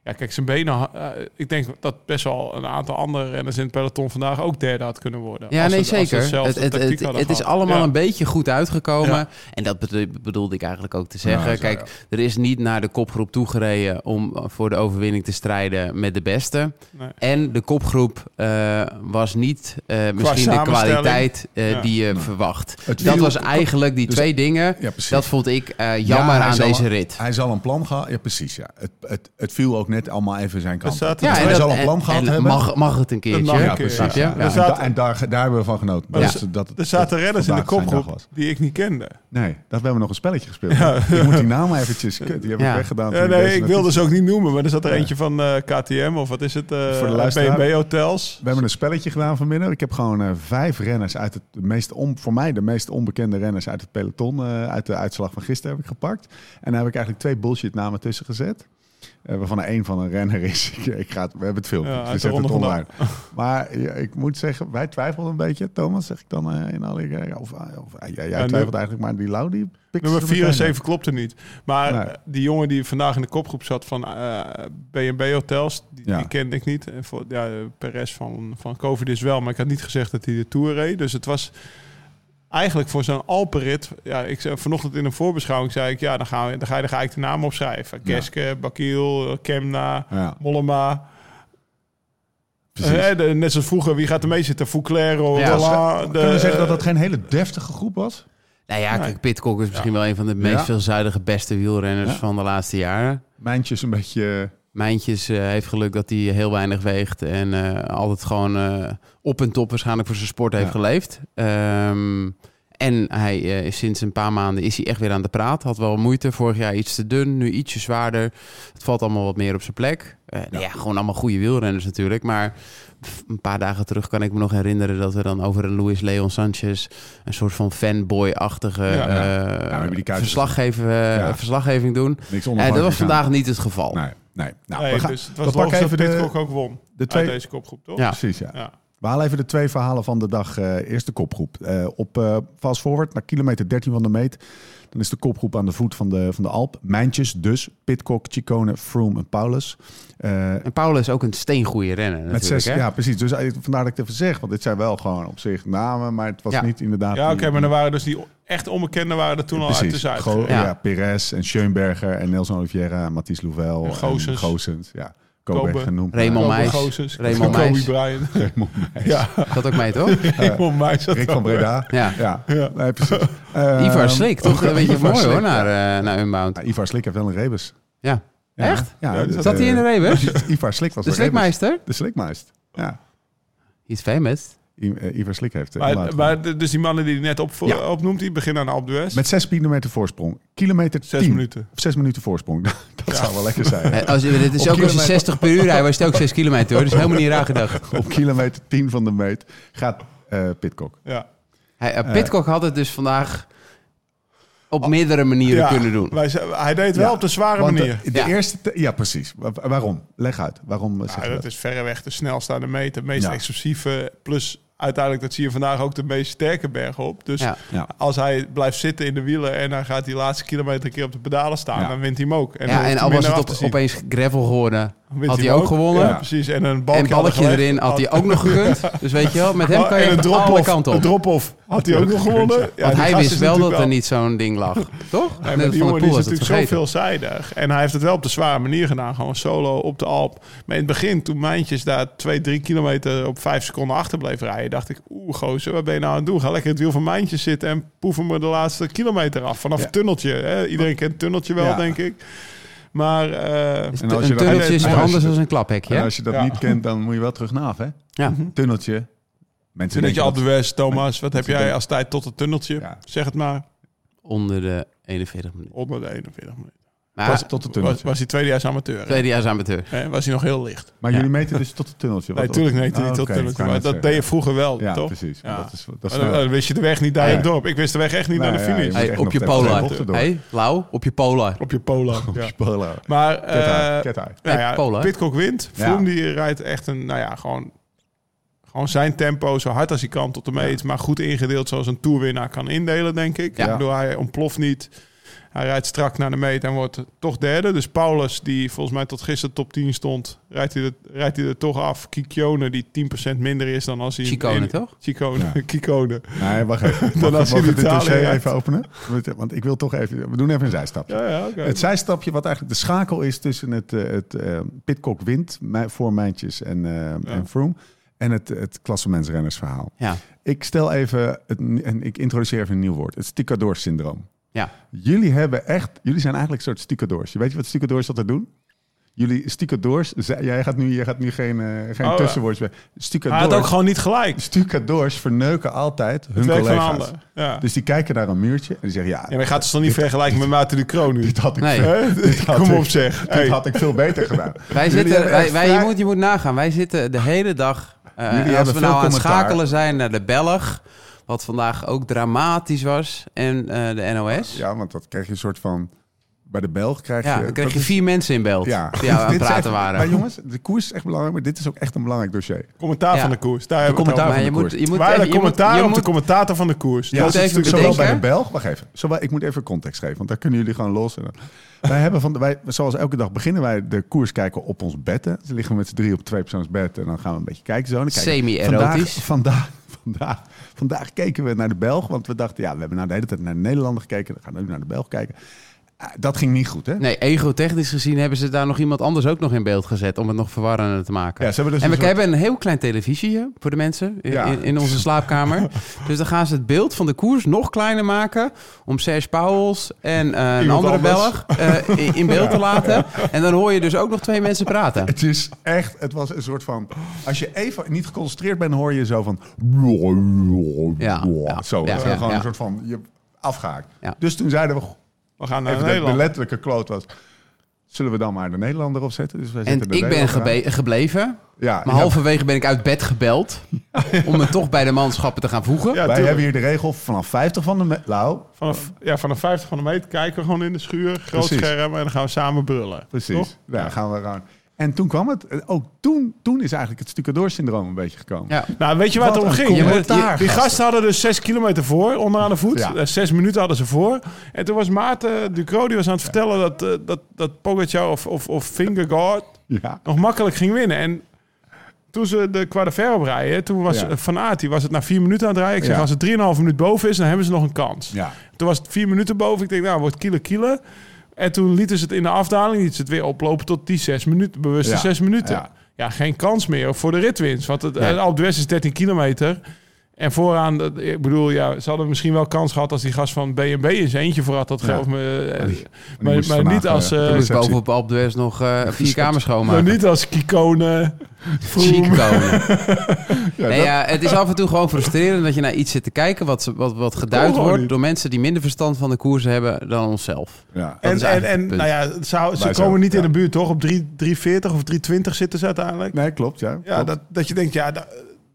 S4: Ja, kijk, zijn benen... ha- eh, ik denk dat best wel een aantal andere renners in het peloton vandaag ook derde had kunnen worden.
S3: ja
S4: Als
S3: nee,
S4: ze- als ze
S3: zeker.
S4: dezelfde
S3: Het, het,
S4: tactiek
S3: het,
S4: hadden
S3: het is
S4: gehad.
S3: allemaal
S4: Ja.
S3: een beetje goed uitgekomen.
S4: Ja.
S3: En dat bedo- bedoelde ik eigenlijk ook te zeggen.
S1: Ja, zo,
S3: Kijk,
S1: ja.
S3: er is niet naar de kopgroep toegereden om eh, voor de overwinning te strijden met de beste.
S4: Nee.
S3: En de kopgroep eh, was niet eh, misschien de
S4: samenstelling.
S3: kwaliteit eh,
S4: Ja.
S3: die je verwacht.
S1: Het
S3: dat
S1: viel-
S3: was eigenlijk die
S1: dus-
S3: twee dingen.
S1: Ja, precies.
S3: Dat vond ik eh, jammer
S1: Ja, hij
S3: aan
S1: zal-
S3: deze rit.
S1: Hij zal een plan gehad... Ja, precies. Ja. Het, het, het viel ook net allemaal even zijn kant.
S4: Er
S1: op.
S4: zaten-
S1: Dus
S4: Ja, en
S1: hij
S4: dat-
S1: zal een plan
S3: en-
S1: gehad
S3: en
S1: hebben.
S3: Mag, mag het een keertje?
S4: mag een
S1: ja,
S4: keer,
S1: precies.
S3: ja.
S1: Ja.
S3: Er
S1: En,
S4: zaten-
S1: da- en daar, daar hebben we van genoten.
S4: Maar
S1: Dus
S4: er-
S1: dat, dat,
S4: Er zaten renners in de
S1: vandaag zijn dag
S4: kopgroep
S1: was.
S4: die ik niet kende.
S1: Nee, dat hebben we nog een spelletje gespeeld. Ik moet die naam eventjes... Kut, die heb ik
S3: Ja.
S1: weggedaan.
S4: Ja,
S1: toen
S4: nee,
S1: deze
S4: ik wilde
S1: notitie-
S4: ze ook niet noemen, maar er zat er
S1: Ja.
S4: eentje van eh, KTM of wat is het?
S1: Voor de
S4: eh
S1: luisteraar.
S4: BNB Hotels.
S1: We hebben een spelletje gedaan vanmiddag. Ik heb gewoon eh, vijf renners uit het de meest on, voor mij de meest onbekende renners uit het peloton. eh, uit de uitslag van gisteren heb ik gepakt. En daar heb ik eigenlijk twee bullshit namen tussen gezet. Eh, waarvan er één van een renner is. *laughs* ik, ik ga het, we hebben het filmpje.
S4: Ja,
S1: dus
S4: uit
S1: we
S4: de
S1: zetten het
S4: Ronde van
S1: online.
S4: *laughs*
S1: Maar ja, ik moet zeggen, wij twijfelden een beetje. Thomas, zeg ik dan eh, in alle... ja, Of, eh, of, ja, jij
S4: nu-
S1: twijfelt eigenlijk, maar die Lau die pikt
S4: Nummer
S1: ze
S4: 4 en
S1: meteen uit.
S4: 7 klopte niet. Maar
S1: Nee.
S4: eh, die jongen die vandaag in de kopgroep zat van eh, B&B Hotels, die,
S1: Ja.
S4: die kende ik niet. En voor, ja, eh, Perez van, van COVID is wel, maar ik had niet gezegd dat hij de Tour reed. Dus het was eigenlijk voor zo'n Alpenrit... Ja, ik zei vanochtend in een voorbeschouwing, zei ik... Ja, dan, gaan we, dan ga je er eigenlijk de naam opschrijven.
S1: Ja.
S4: Keske, Bakiel, Kemna,
S1: Ja,
S4: Mollema.
S1: precies.
S4: Eh, de- net zoals vroeger, wie gaat er mee zitten? Fouclair, Roland.
S1: Kunnen we
S4: de-
S1: zeggen dat dat geen hele deftige groep was?
S3: Nou ja, kijk, Pitcock is misschien wel een van de meest
S1: Ja.
S3: veelzijdige beste wielrenners
S1: Ja.
S3: van de laatste jaren.
S1: Mijntjes een beetje...
S3: Mijntjes eh, heeft geluk dat hij heel weinig weegt en eh, altijd gewoon eh, op en top waarschijnlijk voor zijn sport heeft
S1: Ja.
S3: geleefd. Ehm, en hij eh, is sinds een paar maanden is hij echt weer aan de praat. Had wel moeite, vorig jaar iets te dun, nu ietsje zwaarder. Het valt allemaal wat meer op zijn plek. Eh, nou ja, gewoon allemaal goede wielrenners natuurlijk. Maar pff, een paar dagen terug kan ik me nog herinneren dat we dan over een Luis Leon Sanchez... een soort van fanboy-achtige
S4: ja.
S3: eh,
S1: we hebben die kuiten
S3: verslaggever, eh,
S1: Ja.
S3: verslaggeving doen.
S1: Niks
S3: Eh,
S1: onder
S3: dat was
S1: gegaan.
S3: vandaag niet het geval.
S1: Nee, nee. Nou,
S4: nee,
S1: we gaan...
S4: dus het
S1: we
S4: was
S1: pakken
S4: logisch dat
S1: even de-
S4: Pitcock ook won.
S1: de
S4: Uit
S1: twee...
S4: deze kopgroep, toch?
S3: Ja.
S1: Precies, ja.
S4: Ja.
S1: We halen even de twee verhalen van de dag. eh eerst de kopgroep. Eh, op eh fast forward naar kilometer 13 van de meet. Dan is de kopgroep aan de voet van de, van de Alp. Mijntjes dus. Pitcock, Chicone, Froome en Paulus. Eh,
S3: En Paula is ook een steengoeie renner
S1: met
S3: natuurlijk.
S1: zes,
S3: hè?
S1: ja, precies. Dus eh, vandaar dat ik het even zeg. Want dit zijn wel gewoon op zich namen. Maar het was
S3: Ja.
S1: niet inderdaad...
S4: Ja, oké,
S1: die-
S4: maar er waren dus die echt onbekenden waren er toen al uit
S1: Precies.
S4: de
S1: Go-
S4: zuid.
S1: ja.
S3: Ja.
S1: Perez en Schoenberger en Nelson Oliveira en Mathies Louvel.
S4: En
S1: En
S4: Goossens.
S1: Goossens, Ja, Kobe,
S4: Kobe.
S1: genoemd.
S3: Raymond
S4: Robert
S3: Meijs.
S4: Goossens,
S3: Raymond
S4: Kobe
S3: Meijs.
S4: Bryant.
S1: Ja.
S3: Dat ook mee, toch?
S4: *laughs* Raymond Meijs. had
S1: Rick van
S4: ook- *laughs*
S1: Breda.
S3: Ja.
S1: Ja, nee, precies. Eh,
S3: *laughs* Ivar Slik, toch? Een beetje
S1: *laughs* Ivar
S3: mooi
S1: Slik,
S3: hoor, naar,
S1: ja.
S3: eh, naar Unbound.
S1: Ja, Ivar Slik heeft wel een rebus.
S3: Ja.
S1: Ja.
S3: Echt?
S1: Ja.
S4: Ja,
S1: dat,
S4: zat
S3: Zat hij in de
S1: eh, *laughs*
S3: Rebus?
S1: Ivar Slik was
S3: De
S1: een rebus.
S3: Slikmeister?
S1: De Slikmeist. Ja,
S3: He's famous.
S1: I- eh, Ivar Slik heeft... eh,
S4: Maar,
S1: inderdaad-
S4: maar de- dus die mannen die je net op,
S1: Ja.
S4: opnoemt, die beginnen aan de Alpe d'Huez.
S1: met zes kilometer voorsprong. Kilometer
S4: Zes
S1: 10.
S4: minuten.
S1: Of zes minuten voorsprong. *laughs* dat zou wel lekker
S3: *laughs*
S1: zijn.
S3: Eh, Als, dit is
S1: Op
S3: ook als je
S1: kilometer.
S3: 60 per uur rijdt, was het ook 6 kilometer hoor. Dus helemaal niet raar gedacht.
S1: Op kilometer 10 van de meet gaat eh Pitcock.
S4: Ja.
S3: Hij, eh, Pitcock had het dus vandaag op meerdere manieren
S4: Ja,
S3: kunnen doen.
S4: Wij, zijn- hij deed het wel
S1: Ja,
S4: op de zware
S1: Want eh,
S4: manier.
S1: De, de
S3: Ja.
S1: eerste... te- Ja, precies. Wa- waarom? Leg uit. Waarom eh, zeg
S4: Ja,
S1: je
S4: Nou, dat is verreweg de snelste aan de meet, de meest
S1: Ja.
S4: explosieve. Plus uiteindelijk, dat zie je vandaag ook de meest sterke berg op. Dus
S3: Ja.
S1: Ja.
S4: als hij blijft zitten in de wielen en hij gaat die laatste kilometer een keer op de pedalen staan,
S1: Ja.
S4: dan wint hij hem ook.
S3: En
S4: dan
S3: ja,
S4: hoeft
S3: en
S4: hij
S3: al was
S4: minder
S3: het op,
S4: af te zien.
S3: opeens gravel geworden,
S4: Wint
S3: had hij ook gewonnen.
S4: Ja, precies. En een balkje,
S3: En balletje
S4: hadden
S3: erin had hij ook nog gekund. Dus weet je wel, met hem
S4: Oh,
S3: kan je
S4: en een
S3: echt alle
S4: drop-off.
S3: kanten
S4: Een
S3: op.
S4: drop-off had hij ook nog gewonnen. Ja,
S3: Want
S4: die
S3: hij
S4: gast
S3: wist
S4: is
S3: wel dat
S4: natuurlijk
S3: er niet zo'n ding
S4: *laughs*
S3: lag. Toch?
S4: Nee,
S3: Net
S4: maar
S3: als
S4: die
S3: van de
S4: jongen die
S3: Poel
S4: is
S3: was het
S4: natuurlijk zo
S3: vergeten.
S4: veelzijdig. En hij heeft het wel op de zware manier gedaan. Gewoon solo op de Alp. Maar in het begin, toen Mijntjes daar twee, drie kilometer op vijf seconden achter bleef rijden... dacht ik, oeh gozer, wat ben je nou aan het doen? Ga lekker het wiel van Mijntjes zitten en poeven me de laatste kilometer af. Vanaf het tunneltje. Hè? Iedereen kent het tunneltje wel,
S1: Ja.
S4: denk ik. Maar eh,
S3: Dus
S1: En
S3: tu-
S1: als je
S3: Een
S1: dat-
S3: tunneltje is
S4: Hij-
S3: nog
S4: hij-
S3: anders dan een
S1: En
S3: klaphekje.
S1: als je dat
S4: Ja.
S1: niet kent, dan moet je Mhm. wel terug naar af, hè?
S3: Ja.
S1: Tunneltje. Mensen
S4: tunneltje
S1: denken
S4: Alpe d'Huez, Thomas. Wat heb
S1: ik denk-
S4: jij als tijd tot het tunneltje?
S1: Ja.
S4: Zeg het maar.
S3: Onder de 41 minuten.
S4: Onder de 41 minuten.
S3: Maar
S1: dat- pas tot het
S4: Was,
S1: tunneltje.
S4: was hij tweedejaars amateur? hè?
S3: tweedejaars amateur.
S4: Eh, Was hij nog heel licht?
S1: Maar
S3: Ja.
S1: jullie meten dus tot het tunneltje?
S4: Nee,
S1: Wat-
S4: natuurlijk niet.
S1: Oh,
S4: niet tot
S1: oké,
S4: het tunneltje.
S1: ik wou
S4: Maar
S1: net
S4: dat deed
S1: zeggen.
S4: je vroeger wel,
S1: Ja,
S4: toch?
S1: preneus. precies.
S4: Ja. Oh,
S1: Dat is, dat is
S4: Maar dan, dan wist je de weg niet direct
S1: Nee.
S4: op. Ik wist de weg echt niet
S1: Nee,
S4: naar de
S1: ja,
S4: finish.
S1: je moet
S3: Hey,
S1: echt
S3: op
S1: nog
S3: je
S1: tegen de
S3: polar.
S1: bochten door.
S3: Hey, Lau, op je polar.
S4: Op je
S1: *laughs*
S4: polar. *laughs* Ja.
S1: Spullen.
S4: Maar
S1: uit,
S4: oh. eh
S1: ket uit.
S4: nou
S3: Hey, polar.
S4: ja, Pitcock wint.
S1: Ja.
S4: Vroom die rijdt echt een, nou ja, gewoon, gewoon zijn tempo zo hard als hij kan tot de meet. Maar goed ingedeeld zoals een toerwinnaar kan indelen, denk ik.
S3: Ja.
S4: Ik bedoel, hij ontploft niet. Hij rijdt strak naar de meet en wordt toch derde. Dus Paulus, die volgens mij tot gisteren top 10 stond, rijdt hij er, rijdt hij er toch af. Kikione, die 10% minder is dan als hij...
S3: Chicone,
S4: in-
S3: toch?
S4: Chicone,
S1: Ja.
S4: *laughs* Kikone.
S1: *laughs* Nee, wacht even. Dan
S4: als
S1: mag
S4: je
S1: ik
S4: in
S1: dit
S4: Italië
S1: dossier
S4: rijdt.
S1: even openen? Want- Want ik wil toch even... We doen even een zijstapje.
S4: Ja, ja, oké.
S1: Het zijstapje wat eigenlijk de schakel is tussen het, eh, het eh, Pitcock wint mij- voor Mijntjes en, eh en Froome en het, het klassementsrennersverhaal.
S3: Ja.
S1: Ik stel even, het, en ik introduceer even een nieuw woord, het sticador-syndroom.
S3: Ja.
S1: Jullie hebben echt, jullie zijn eigenlijk een soort stucadoors. Je weet je wat stucadoors altijd doen? Jullie stucadoors, ze- jij gaat nu, jij gaat nu geen, eh, geen
S4: Oh, ja.
S1: tussenwoordjes bij.
S4: Hij had ook
S1: Stucadoors,
S4: gewoon niet gelijk.
S1: stucadoors verneuken altijd hun
S4: Het werk van
S1: collega's.
S4: handen. Ja.
S1: Dus die kijken naar een muurtje en die zeggen ja,
S4: Ja, maar je gaat dus toch niet vergelijken met Maarten de Kroon
S1: *laughs*
S4: nu?
S1: dit had ik,
S3: Nee.
S1: veel-
S4: *laughs* Hè?
S1: dit had
S4: Kom
S1: ik-
S4: op zeg.
S1: dit
S4: Hey.
S1: had ik veel beter
S4: *laughs*
S1: gedaan.
S3: Wij
S1: Jullie
S3: zitten,
S1: hebben
S3: wij,
S1: echt
S3: wij,
S1: vrij-
S3: je, moet, je moet nagaan, wij zitten de hele dag. eh, en als
S1: hebben
S3: we
S1: veel
S3: nou aan het
S1: commentaar.
S3: schakelen zijn naar de Belg, wat vandaag ook dramatisch was, en eh, de NOS. Ja,
S1: Ja, want dat krijg je een soort van... Bij de Belg krijg je...
S3: dan krijg
S1: dat
S3: je
S1: is-
S3: vier mensen in beeld
S1: Ja. *laughs*
S3: die aan het
S1: Dit is
S3: praten
S1: echt-
S3: waren.
S1: Maar jongens, de koers is echt belangrijk, maar dit is ook echt een belangrijk dossier.
S4: Commentaar
S3: Ja.
S4: van de koers. Daar hebben we het
S1: commentaar
S3: Maar
S4: over.
S3: je
S1: van de
S3: moet,
S1: koers.
S3: je moet
S4: Waar
S3: even-
S4: de
S3: je moet-
S4: commentaar
S3: je
S4: op de
S3: moet-
S4: commentator van de koers.
S3: Ja.
S4: Dus Dat is
S3: Moet even
S4: natuurlijk
S1: Zowel
S4: zo
S3: bedenken.
S1: bij de Belg, wacht even. Zowel, ik moet even context geven, want daar kunnen jullie gewoon los. En dan- Wij hebben van, de- wij, zoals elke dag beginnen wij de koers kijken op ons bed. Hè. Dus liggen we met z'n drie op twee persoons bed en dan gaan we een beetje kijken. Zo. En dan kijken-
S3: Semi-erotisch.
S1: Vandaag, vandaag, vandaag, vandaag keken we naar de Belg, want we dachten, ja, we hebben nou de hele tijd naar de Nederlander gekeken. Dan gaan we nu naar de Belg kijken. Eh, Dat ging niet goed, hè?
S3: Nee, ego-technisch gezien hebben ze daar nog iemand anders ook nog in beeld gezet. Om het nog verwarrender te maken.
S4: Ja, ze hebben dus
S3: en we
S4: een soort-
S3: hebben een heel klein televisieje voor de mensen in,
S1: Ja.
S3: in, in onze
S4: *laughs*
S3: slaapkamer. dus dan gaan ze het beeld van de koers nog kleiner maken. Om Serge Pauwels en eh, een
S4: Iemand
S3: andere
S4: anders.
S3: Belg eh, in- in beeld
S4: *laughs*
S3: te laten. En dan hoor je dus ook nog twee mensen praten.
S1: Het is echt, het was een soort van. Als je even niet geconcentreerd bent, hoor je zo van.
S3: Ja, ja,
S1: *laughs* zo.
S3: ja,
S1: Het is
S3: ja,
S1: gewoon
S3: ja.
S1: een soort van. Je afgehaakt.
S3: Ja.
S1: Dus toen zeiden we.
S4: We gaan naar
S1: Even de, de
S4: Nederland.
S1: letterlijke kloot was. Zullen we dan maar de Nederlander opzetten? Dus wij
S3: En
S1: zetten de
S3: ik ben
S1: Nederlander aan.
S3: gebe- gebleven.
S1: Ja,
S3: Maar
S1: ja,
S3: halverwege ben ik uit bed
S4: *laughs*
S3: gebeld. om me toch bij de manschappen te gaan voegen.
S4: Ja,
S1: wij
S4: tuurlijk.
S1: hebben hier de regel vanaf 50 van de me- Nou, Lau.
S4: Vanaf, ja, vanaf 50 van de meter kijken we gewoon in de schuur. Groot
S1: Precies.
S4: scherm en dan gaan we samen brullen.
S1: Precies.
S4: Toch?
S1: Daar gaan we eraan. En toen kwam het. eh, Ook toen, toen is eigenlijk het stucadoor-syndroom een beetje gekomen.
S3: Ja.
S4: Nou, weet je waar
S1: Wat
S4: het om
S1: een
S4: ging?
S3: commentaar,
S4: Die- die,
S1: gasten.
S4: gasten hadden dus zes kilometer voor, onderaan de voet.
S1: Ja.
S4: Eh, Zes minuten hadden ze voor. En toen was Maarten Ducro, die was aan het vertellen dat, eh, dat, dat Pogacar of, of, of Fingergaard
S1: Ja.
S4: nog makkelijk ging winnen. En toen ze de Quadrifer oprijden, toen was
S1: Ja.
S4: eh, Van Aert, die was het na vier minuten aan het rijden. Ik zeg,
S1: Ja.
S4: als het drieënhalve minuut boven is, dan hebben ze nog een kans.
S1: Ja.
S4: Toen was het vier minuten boven. Ik denk, nou, wordt kiele kiele. En toen lieten ze het in de afdaling, lieten ze het weer oplopen tot die zes minuten, bewuste
S1: Ja,
S4: zes minuten.
S1: ja.
S4: Ja. geen kans meer voor de ritwinst. Want het,
S3: Nee.
S4: eh, Alpe d'Huez is 13 kilometer. En vooraan, dat- ik bedoel, ja, ze hadden misschien wel kans gehad als die gast van B&B eens eentje voor had. Dat
S1: Ja.
S4: geloof me. eh,
S1: Maar die-
S4: Maar,
S1: moest
S4: maar
S1: vandaag,
S4: niet als,
S1: eh,
S4: eh,
S3: Ik moest
S1: receptie.
S3: bovenop Alpe d'Huez nog eh, vier kamers
S4: maar
S3: schoonmaken.
S4: niet als Kikone.
S3: Chic
S4: Vroom.
S3: *laughs* tonen.
S1: Ja,
S3: Nee,
S1: dat-
S3: ja, het is af en toe gewoon frustrerend dat je naar iets zit te kijken wat, ze- wat, wat
S4: kon
S3: geduid
S4: gewoon
S3: wordt
S4: niet.
S3: door mensen die minder verstand van de koers hebben dan onszelf.
S1: ja.
S4: En,
S3: is
S4: en,
S3: eigenlijk
S4: en
S3: het
S4: nou ja, het zou, ze
S1: Wij zo,
S4: komen niet
S1: ja.
S4: in de buurt, toch? Op 3, 340 of 320 zitten ze uiteindelijk.
S1: Nee, klopt. Ja,
S4: Ja,
S1: klopt.
S4: dat, dat je denkt, ja, da-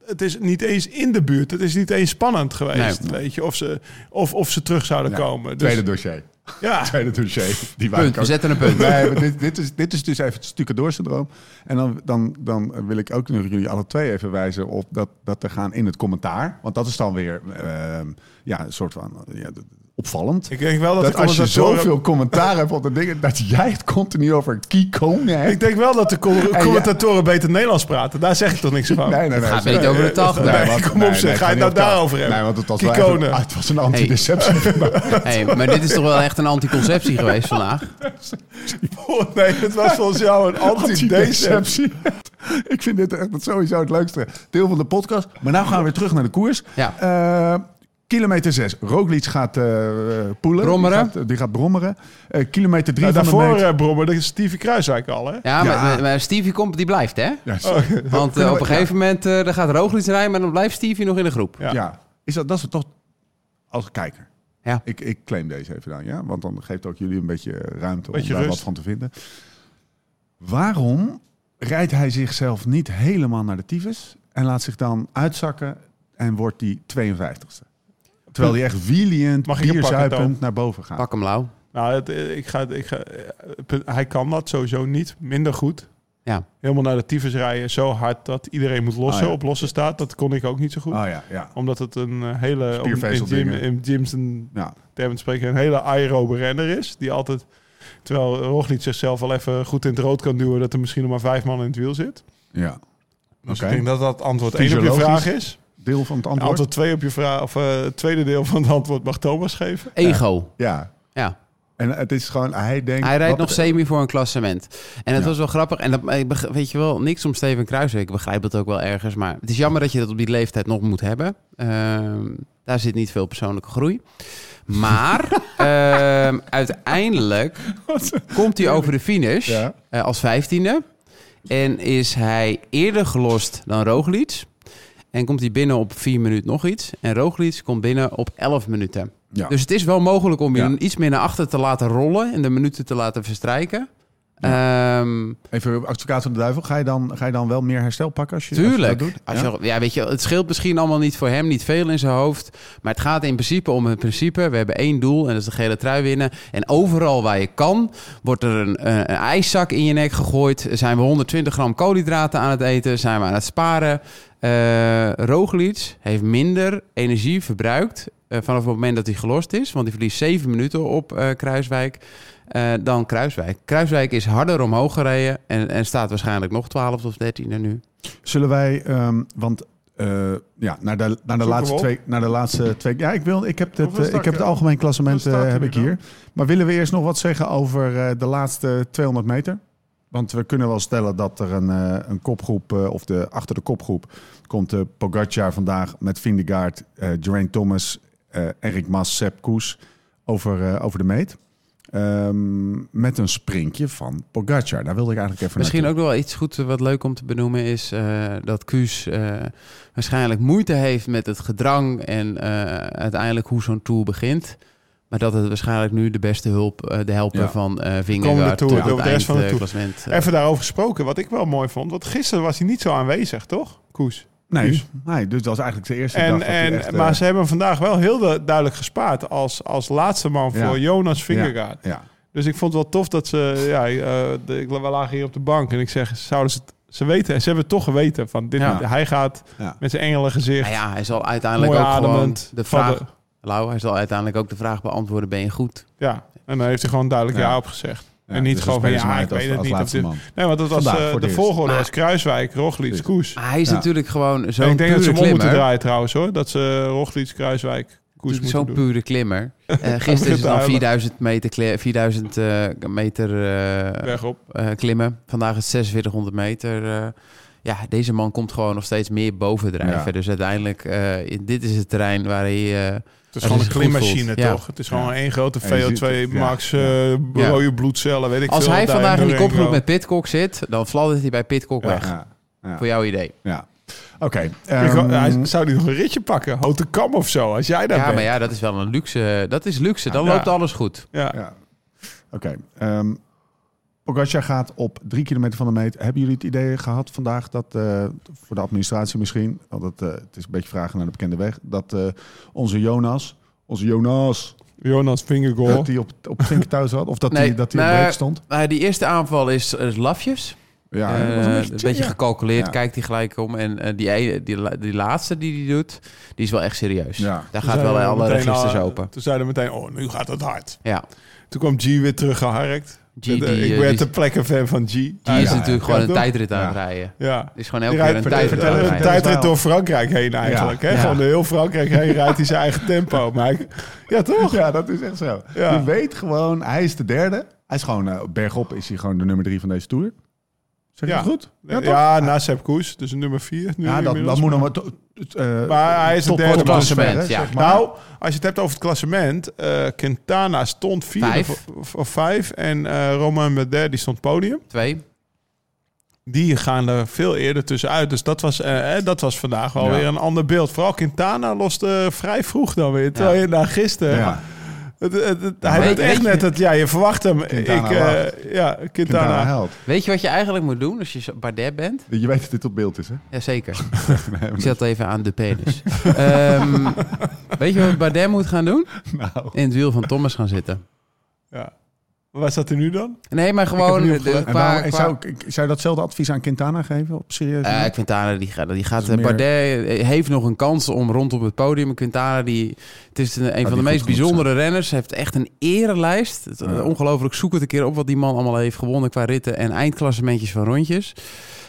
S4: het is niet eens in de buurt. Het is niet eens spannend geweest,
S3: Nee.
S4: weet je. Of ze, of, of ze terug zouden
S1: Ja,
S4: komen. Dus,
S1: Tweede dossier.
S4: ja,
S1: Tweede dossier. Die waren
S3: Punt, we zetten een punt.
S1: Nee, maar dit, dit, is, dit is dus even het stucadoor-syndroom. En dan, dan, dan wil ik ook nog jullie alle twee even wijzen op dat, dat er gaan in het commentaar. Want dat is dan weer ehm, ja, een soort van ja, opvallend.
S4: ik denk wel dat,
S1: dat
S4: de
S1: als je
S4: commentatoren-
S1: zoveel commentaar hebt op de dingen, dat jij het continu over Kikone hebt.
S4: Ik denk wel dat
S1: *laughs*
S4: de com- commentatoren beter Nederlands praten. Daar zeg ik toch niks van.
S3: Het
S4: *laughs*
S3: gaat een beetje over de taal
S1: Nee,
S3: gebruiken.
S1: want-
S4: kom op, zeg,
S1: ik
S4: ga
S1: niet
S4: je het nou
S1: op taal.
S4: daarover hebben?
S1: Nee, want het was, wel
S4: Kikone.
S1: echt een- ah, het was een antideceptie.
S3: Hey, maar dit is toch wel echt een anticonceptie geweest vandaag?
S4: Oh, *laughs* nee, het was volgens jou een
S1: *laughs* Antideceptie.
S4: anti-deceptie.
S1: *laughs* Ik vind dit echt het sowieso het leukste deel van de podcast. Maar nou gaan we weer terug naar de koers.
S3: Ja.
S1: Eh, kilometer 6. Roglic gaat eh poelen.
S3: Brommeren.
S1: Die gaat, die gaat brommeren. Eh, kilometer 3
S4: Nou,
S1: van de
S4: daarvoor,
S1: meter.
S4: eh Brommer, dat is Stevie Kruiswijk al, hè?
S3: Ja,
S1: Ja.
S3: Maar, maar Stevie komt, die blijft hè?
S1: Ja, is-
S3: Want eh,
S1: we-
S3: op een
S1: ja.
S3: gegeven moment eh, dan gaat Roglic rijden, maar dan blijft Stevie nog in de groep.
S4: Ja.
S1: ja. Is dat, dat is toch als kijker.
S3: Ja.
S1: Ik, ik claim deze even dan, ja? Want dan geeft ook jullie een beetje ruimte om
S4: Beetje
S1: daar
S4: rust.
S1: wat van te vinden. Waarom rijdt hij zichzelf niet helemaal naar de tyfus en laat zich dan uitzakken en wordt die 52ste? Terwijl hij echt wieliend,
S4: Mag ik hem pakken,
S1: bierzuipend
S4: Toon?
S1: naar boven gaat.
S3: Pak hem lauw.
S4: Nou, het, eh, ik ga, ik ga, eh, punt- hij kan dat sowieso niet. Minder goed.
S3: Ja.
S4: Helemaal naar de tyfus rijden. Zo hard dat iedereen moet lossen,
S1: Ah, ja.
S4: op lossen staat. Dat kon ik ook niet zo goed.
S1: Oh ja, ja.
S4: Omdat het een eh, hele, om- in, gym,
S1: Spiervezeldingen.
S4: in gyms een
S1: ja.
S4: termen te spreken, een hele aerobe renner is. Die altijd, terwijl Roglic zichzelf wel even goed in het rood kan duwen, dat er misschien nog maar vijf man in het wiel zit.
S1: ja.
S4: Dus
S1: Oké.
S4: ik denk dat dat antwoord één op je
S1: Fysiologisch
S4: vraag is.
S1: Deel van het antwoord.
S4: Antwoord twee op je vraag, of eh, het tweede deel van het antwoord mag Thomas geven.
S3: Ego.
S1: Ja.
S3: Ja.
S1: En het is gewoon, hij denkt...
S3: Hij rijdt
S1: wat-
S3: nog semi voor een klassement. En het
S1: Ja.
S3: was wel grappig. En dat, ik beg- weet je wel, niks om Steven Kruiswijk. Ik begrijp het ook wel ergens. Maar het is jammer dat je dat op die leeftijd nog moet hebben. Ehm, daar zit niet veel persoonlijke groei. Maar
S1: *laughs*
S3: ehm, uiteindelijk komt hij over de finish
S1: Ja.
S3: eh, als vijftiende. En is hij eerder gelost dan Roglic. En komt hij binnen op vier minuten nog iets. En Roglic komt binnen op elf minuten.
S1: Ja.
S3: Dus het is wel mogelijk om je
S1: Ja.
S3: iets meer naar achter te laten rollen en de minuten te laten verstrijken. Ehm,
S1: Even advocaat van de duivel. Ga je dan, ga je dan wel meer herstel pakken als je, als je
S3: tuurlijk.
S1: dat doet?
S3: Als je, ja, weet je, het scheelt misschien allemaal niet voor hem, niet veel in zijn hoofd. Maar het gaat in principe om het principe. We hebben één doel en dat is de gele trui winnen. En overal waar je kan, wordt er een, eh, een, een ijszak in je nek gegooid. Zijn we 120 gram koolhydraten aan het eten? Zijn we aan het sparen? Eh Roglic heeft minder energie verbruikt eh, vanaf het moment dat hij gelost is. Want hij verliest 7 minuten op eh, Kruiswijk eh, dan Kruiswijk. Kruiswijk is harder omhoog gereden en, en staat waarschijnlijk nog 12 of 13 nu.
S1: Zullen wij, ehm, want eh, ja, naar de, naar, de
S4: hem
S1: laatste
S4: op.
S1: twee, naar de laatste twee. Ja, ik, wil, ik, heb, het,
S4: Hoeveel
S1: eh, ik
S4: staat
S1: heb het
S4: er?
S1: algemeen klassement
S4: Hoeveel staat
S1: eh,
S4: er
S1: heb
S4: nu
S1: ik
S4: dan?
S1: hier. Maar willen we eerst nog wat zeggen over eh, de laatste 200 meter? Want we kunnen wel stellen dat er een, eh, een kopgroep, eh, of de, achter de kopgroep, komt eh Pogacar vandaag met Vindegaard, eh Geraint Thomas, eh Erik Mas, Sepp Koes over, eh, over de meet. Ehm, met een sprintje van Pogacar. Daar wilde ik eigenlijk even
S3: Misschien
S1: naartoe.
S3: ook nog wel iets goeds wat leuk om te benoemen is eh, dat Kuus eh, waarschijnlijk moeite heeft met het gedrang en eh, uiteindelijk hoe zo'n tour begint. Maar dat het waarschijnlijk nu de beste hulp, eh, de helper
S1: Ja.
S3: van eh
S4: komende
S3: Vingegaard
S4: tour,
S3: tot
S4: de-
S3: het
S4: de rest van de
S3: eind, eh,
S4: tour.
S3: klassement, eh,
S4: Even daarover gesproken, wat ik wel mooi vond. Want gisteren was hij niet zo aanwezig, toch? Koes.
S1: Nee,
S4: Kuus.
S1: nee, dus dat was eigenlijk de eerste dag
S4: En,
S1: dat hij
S4: en,
S1: echt, eh,
S4: maar ze hebben hem vandaag wel heel du- duidelijk gespaard als, als laatste man
S1: Ja.
S4: voor Jonas Vingegaard.
S1: ja.
S4: Dus ik vond het wel tof dat ze... Ja, eh, de- ik, we lagen hier op de bank en ik zeg, zouden ze het... Ze weten, ze hebben het toch geweten. Van dit,
S1: Ja.
S4: Hij gaat
S1: Ja.
S4: met zijn engelengezicht,
S3: nou ja, hij zal uiteindelijk
S4: mooi
S3: ook gewoon
S4: ademend.
S3: de
S4: van
S3: vraag,
S4: de-
S3: Lau, hij zal uiteindelijk ook de vraag beantwoorden: ben je goed?
S4: ja, en dan heeft hij gewoon duidelijk
S1: Ja.
S4: ja, op gezegd.
S1: Ja,
S4: en niet
S1: dus
S4: gewoon
S1: dan
S4: van,
S1: spelen ze
S4: ja,
S1: hem
S4: ik
S1: uit
S4: weet het
S1: als
S4: niet.
S1: laatste
S4: of dit-
S1: man.
S4: Nee, want dat was
S1: Vandaag
S4: eh,
S1: voor het
S4: de
S1: eerst.
S4: volgorde
S3: Maar-
S4: was Kruiswijk, Roglic, Koes.
S3: Maar hij is
S1: Ja.
S3: natuurlijk gewoon
S4: En
S3: zo'n
S4: ik denk dat ze
S3: pure
S4: hem om moeten
S3: klimmer.
S4: draaien trouwens hoor. Dat ze eh, Roglic, Kruiswijk, Koes
S3: Natuurlijk
S4: moeten
S3: Zo'n
S4: doen.
S3: pure klimmer.
S4: *laughs*
S3: Eh,
S4: begint
S3: gisteren is
S4: te
S3: het dan
S4: huilen.
S3: 4000 meter, kli- 4000, eh, meter eh,
S4: Weg op.
S3: eh, klimmen. Vandaag is het 4600 meter. eh. ja, deze man komt gewoon nog steeds meer bovendrijven.
S1: Ja.
S3: Dus uiteindelijk, eh, in- dit is het terrein waar hij... eh,
S4: Het is
S3: Dat
S4: gewoon
S3: is
S4: een
S3: goed
S4: klimmachine
S3: voelt, ja.
S4: toch? Het is gewoon één grote
S1: En je ziet
S4: VO2
S1: het, ja.
S4: max, eh,
S3: Ja.
S4: rode bloedcellen, weet ik
S3: als
S4: veel.
S3: hij
S4: daar
S3: vandaag in die
S4: Durango.
S3: kopgroep met Pitcock zit, dan fladdert hij bij Pitcock
S4: Ja.
S3: weg.
S1: Ja, ja.
S3: Voor jouw idee.
S1: Ja. Oké.
S4: Ik
S1: ehm,
S4: wou- hij zou die nog een ritje pakken? Houten kam of zo, als jij daar
S3: Ja,
S4: bent.
S3: maar ja, dat is wel een luxe. Dat is luxe. Dan
S4: Ja.
S3: loopt alles goed.
S4: Ja.
S1: ja. Oké. ehm, Pogacar gaat op drie kilometer van de meet. Hebben jullie het idee gehad vandaag dat, eh, voor de administratie misschien, want het, eh, het is een beetje vragen naar de bekende weg, dat eh, onze Jonas, onze Jonas,
S4: Jonas Vingegaard.
S1: dat hij op, op Vink thuis had? Of dat
S3: Nee,
S1: hij op op
S3: nou,
S1: break stond?
S3: Maar die eerste aanval is, is lafjes.
S1: Ja,
S3: Eh,
S1: dat was
S3: een beetje
S1: ja.
S3: gecalculeerd,
S1: Ja.
S3: kijkt hij gelijk om. En eh, die, ene- die, la- die laatste die hij doet, die is wel echt serieus.
S1: Ja.
S3: Daar
S4: Toen
S3: gaat wel
S4: zeiden we
S3: alle
S4: meteen,
S1: dus
S3: registers
S4: ah,
S3: open.
S4: Toen zeiden we meteen, oh, nu gaat het hard.
S3: Ja,
S4: Toen kwam G weer teruggeharkt.
S3: G,
S4: Ik
S3: die, eh, die-
S4: werd de plekken fan van G. Die
S3: die is natuurlijk gewoon een
S4: toch?
S3: tijdrit aan het
S1: Ja.
S3: rijden.
S4: Ja.
S3: Het is gewoon elke
S4: Die
S3: keer een
S4: rijdt een
S3: tijdrit aan het
S4: tijdrit,
S3: rijden.
S4: door Frankrijk heen eigenlijk.
S1: Ja.
S4: Hè?
S3: Ja.
S4: Gewoon door heel Frankrijk heen rijdt hij zijn eigen tempo. Maar hij- ja, toch?
S1: Ja, dat is echt zo.
S4: Ja.
S1: Je weet gewoon, hij is de derde. Hij is gewoon, eh, bergop is hij gewoon de nummer drie van deze Tour. Zeg je
S4: Ja.
S1: dat goed?
S4: Ja,
S1: toch?
S4: na Sepp Koes, dus nummer 4.
S1: Ja, dat, dat moet nog wat. eh,
S4: Maar hij is de derde man.
S3: klassement, ja.
S4: Nou, als je het hebt over het klassement, eh Quintana stond vier
S3: Vijf.
S4: Of, of- of vijf en eh Romain Bardet die stond podium.
S3: Twee.
S4: Die gaan er veel eerder tussenuit, dus dat was, eh, eh, dat was vandaag wel
S1: Ja.
S4: weer een ander beeld. Vooral Quintana loste vrij vroeg dan weer, terwijl
S3: Ja.
S4: je naar gisteren.
S1: ja.
S4: Het, het- het-
S3: Ja,
S4: hij
S3: weet-
S4: doet echt
S3: weet je-
S4: net dat, ja, je verwacht hem.
S1: Quintana
S4: ik, eh,
S1: lacht.
S4: ja,
S1: Quintana
S4: Quintana.
S1: held.
S3: Weet je wat je eigenlijk moet doen als je zo- Bardet bent?
S1: Je weet dat dit op beeld is, hè?
S3: Jazeker.
S4: *laughs*
S3: Ik zet even aan de penis. Ehm, weet je wat Bardet moet gaan
S4: *laughs*
S3: doen?
S1: Nou,
S3: In het wiel van Thomas gaan zitten.
S4: Ja. Waar staat hij nu dan?
S3: Nee, maar gewoon...
S4: Ik heb hem
S3: de-
S4: niet opgelet.
S1: en
S3: qua-
S1: waarom- en
S3: qua-
S1: zou, ik- zou je datzelfde advies aan Quintana geven? Op serieus?
S3: Eh Quintana die gaat, die gaat
S1: Dat is meer-
S3: Bardet heeft nog een kans om rondom het podium. Quintana die, het is een, een van de
S1: Ah, goed
S3: meest
S1: genoeg
S3: bijzondere renners. Hij heeft echt een erenlijst. Het- eh,
S1: Ja.
S3: Ongelooflijk zoek het een keer op wat die man allemaal heeft gewonnen qua ritten en eindklassementjes van rondjes.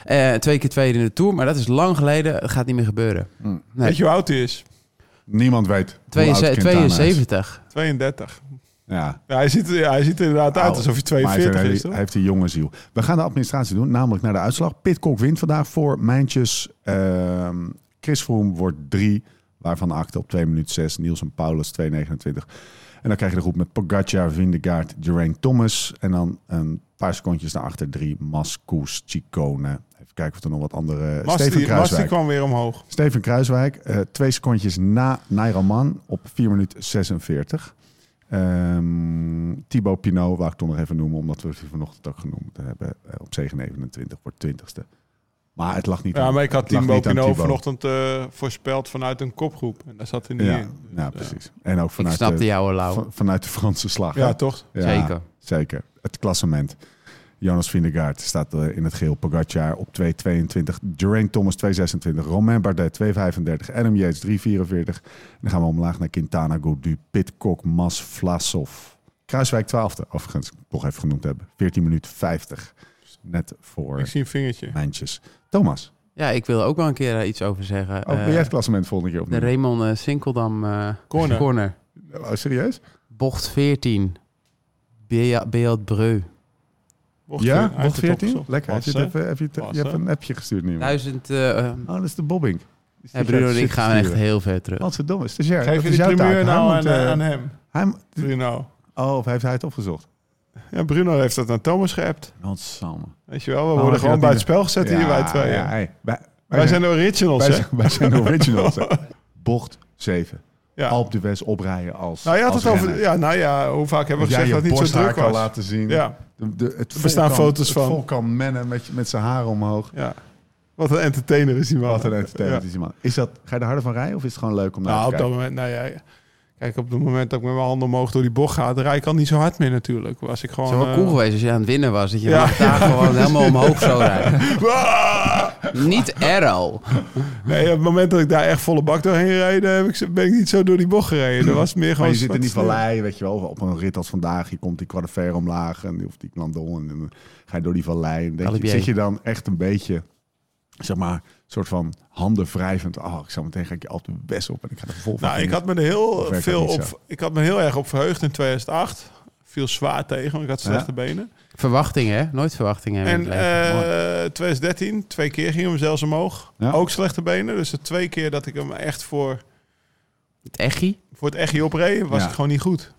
S3: Eh, twee keer tweede in de Tour, maar dat is lang geleden. Het gaat niet meer gebeuren.
S1: Hm.
S3: Nee.
S4: Weet je hoe oud hij is?
S1: Niemand weet. hoe
S3: Twee-
S1: oud Quintana is.
S3: 72.
S4: 32.
S1: Ja.
S4: Ja, hij, ziet, er- ja, hij ziet er inderdaad uit
S1: Oud.
S4: alsof hij
S1: Maar hij heeft,
S4: 42
S1: een
S4: is,
S1: hele-
S4: toch?
S1: hij heeft die jonge ziel. We gaan de administratie doen, namelijk naar de uitslag. Pitcock wint vandaag voor Mijntjes. Ehm, Chris Froome wordt drie, waarvan acht op 2 minuten 6. Nielsen Paulus 2,29. En dan krijg je de groep met Pogacar, Vindegaard, Geraint Thomas. En dan een paar secondjes naar achter drie. Mas, Koes, Chicone. Even kijken of er nog wat andere...
S4: Mas
S1: Steven
S4: die- Mas die
S1: Kruiswijk.
S4: kwam weer omhoog.
S1: Steven Kruiswijk, eh, twee secondjes na Nairaman op 4 minuten 46. Ehm Thibaut Pinot, wou ik toch nog even noemen, omdat we het vanochtend ook genoemd hebben. eh, op 7,29 wordt 20ste. Maar het lag niet
S4: Ja,
S1: aan-
S4: maar ik had
S1: het lag
S4: Timo
S1: niet aan
S4: Pinot
S1: Thibaut.
S4: vanochtend eh, voorspeld vanuit een kopgroep. En daar zat hij niet
S1: Ja,
S4: in.
S1: ja, precies. En ook
S3: Ik
S1: vanuit,
S3: snapte
S1: de,
S3: jou, hoor, Lau.
S1: van- vanuit de Franse slag.
S4: Ja,
S1: hè?
S4: toch?
S1: Ja,
S3: Zeker.
S1: Zeker. Het klassement. Jonas Vindegaard staat eh, in het geel. Pogacar op 2,22. Geraint Thomas 2,26. Romain Bardet 2,35. Adam Yates 3,44. En dan gaan we omlaag naar Quintana, Goudu, Pitcock, Mas, Vlasov. Kruiswijk 12e, overigens, toch even genoemd hebben. 14 minuten 50. Net
S4: Ik
S1: voor
S4: zie een vingertje.
S1: Mijntjes. Thomas,
S3: Ja, ik wil er ook wel een keer eh, iets over zeggen.
S1: Ook
S3: Eh,
S1: wil Oh, jij het klassement volgende keer
S3: de
S1: opnemen?
S3: Raymond eh, Sinkeldam eh,
S4: Corner.
S3: corner.
S1: Oh, serieus?
S3: Bocht 14. Bea- Beat Breu.
S4: Bocht
S1: Ja,
S4: veertien,
S1: bocht
S4: uit de top
S1: 14?
S4: gezocht.
S1: Lekker. Heb je,
S4: Pas,
S1: het
S4: hè?
S1: even, heb je, het-
S4: Pas,
S1: je hebt
S4: hè?
S1: een appje gestuurd nu. Oh,
S3: Duizend. eh eh,
S1: dat is de bobbing. Dus die
S3: ja, Bruno
S1: gaat
S3: en ik
S1: zitten
S3: gaan echt
S1: sturen.
S3: heel ver
S4: Oh,
S3: terug.
S1: Godverdomme, stagiair.
S4: Geef
S1: dat
S4: je
S1: is
S4: die
S1: jouw
S4: primeur
S1: taak. Hij
S4: nou
S1: moet,
S4: aan, eh,
S1: eh,
S4: aan hem,
S1: hij moet-
S4: Bruno.
S1: Oh, of heeft hij het opgezocht?
S4: Ja, Bruno heeft dat naar Thomas geappt.
S1: Godsamme.
S4: Weet je wel, we
S1: Oh,
S4: worden
S1: had je
S4: gewoon
S1: dat
S4: bij
S1: niet-
S4: het spel gezet hier, wij twee.
S1: Ja, hey, wij, wij
S4: Wij zijn de
S1: wij
S4: originals, hè?
S1: zijn- wij zijn de originals. hè.
S4: *laughs*
S1: Bocht 7.
S4: Ja.
S1: Alp de West oprijden als
S4: Nou, je had
S1: als
S4: het over...
S1: renner.
S4: Ja, nou ja, hoe vaak hebben
S1: Dat jij
S4: we gezegd
S1: je
S4: dat het niet zo
S1: borsthaar
S4: druk
S1: kan
S4: was?
S1: laten zien.
S4: Ja,
S1: De, de, het
S4: Er staan
S1: volk kan-
S4: foto's van.
S1: Het volk kan mennen met, met zijn haar omhoog.
S4: ja. Wat een entertainer is die man.
S1: Wat een entertainment
S4: Ja.
S1: is die man. Is dat, ga je er harder van rijden of is het gewoon leuk om naar
S4: Nou,
S1: te
S4: op dat
S1: kijken?
S4: moment... Nou ja, kijk, op het moment dat ik met mijn handen omhoog door die bocht ga, dan rijd ik al niet zo hard meer natuurlijk. Was ik gewoon...
S3: Het zou wel cool
S4: eh, *laughs*
S3: geweest als je aan het winnen was. Dat je
S4: Ja.
S3: vanaf
S4: *laughs*
S3: daar gewoon helemaal omhoog zou rijden.
S4: Waaah!
S3: Niet arrow.
S4: Ah! Nee, op het moment dat ik daar echt volle bak doorheen reed, heb ik, ben ik niet zo door die bocht gereden. Dan was het meer gewoon...
S1: Maar je zit in die
S4: wat-
S1: vallei, weet je wel, op een rit als vandaag. Je komt die quadrifer omlaag en, of die knandon. En dan ga je door die vallei. En denk je,
S3: Alibier.
S1: zit je dan echt een beetje, zeg maar, soort van handen wrijvend. Oh, ik zou meteen ga ik je altijd best op en ik ga er vol van.
S4: Nou, ik
S1: genieten.
S4: had me er heel
S1: Of werkt
S4: veel
S1: dat niet
S4: op. Ik had me heel erg op verheugd in 2008. Viel zwaar tegen, want ik had slechte
S1: Ja.
S4: benen.
S3: Verwachtingen, hè? Nooit verwachtingen. hebben
S4: En
S3: in het leven. Mooi.
S4: eh, 2013, twee keer ging hem zelfs omhoog.
S1: Ja.
S4: Ook slechte benen. Dus de twee keer dat ik hem echt voor,
S3: Het echie.
S4: voor het echtje opreed, was
S1: Ja.
S4: ik gewoon niet goed.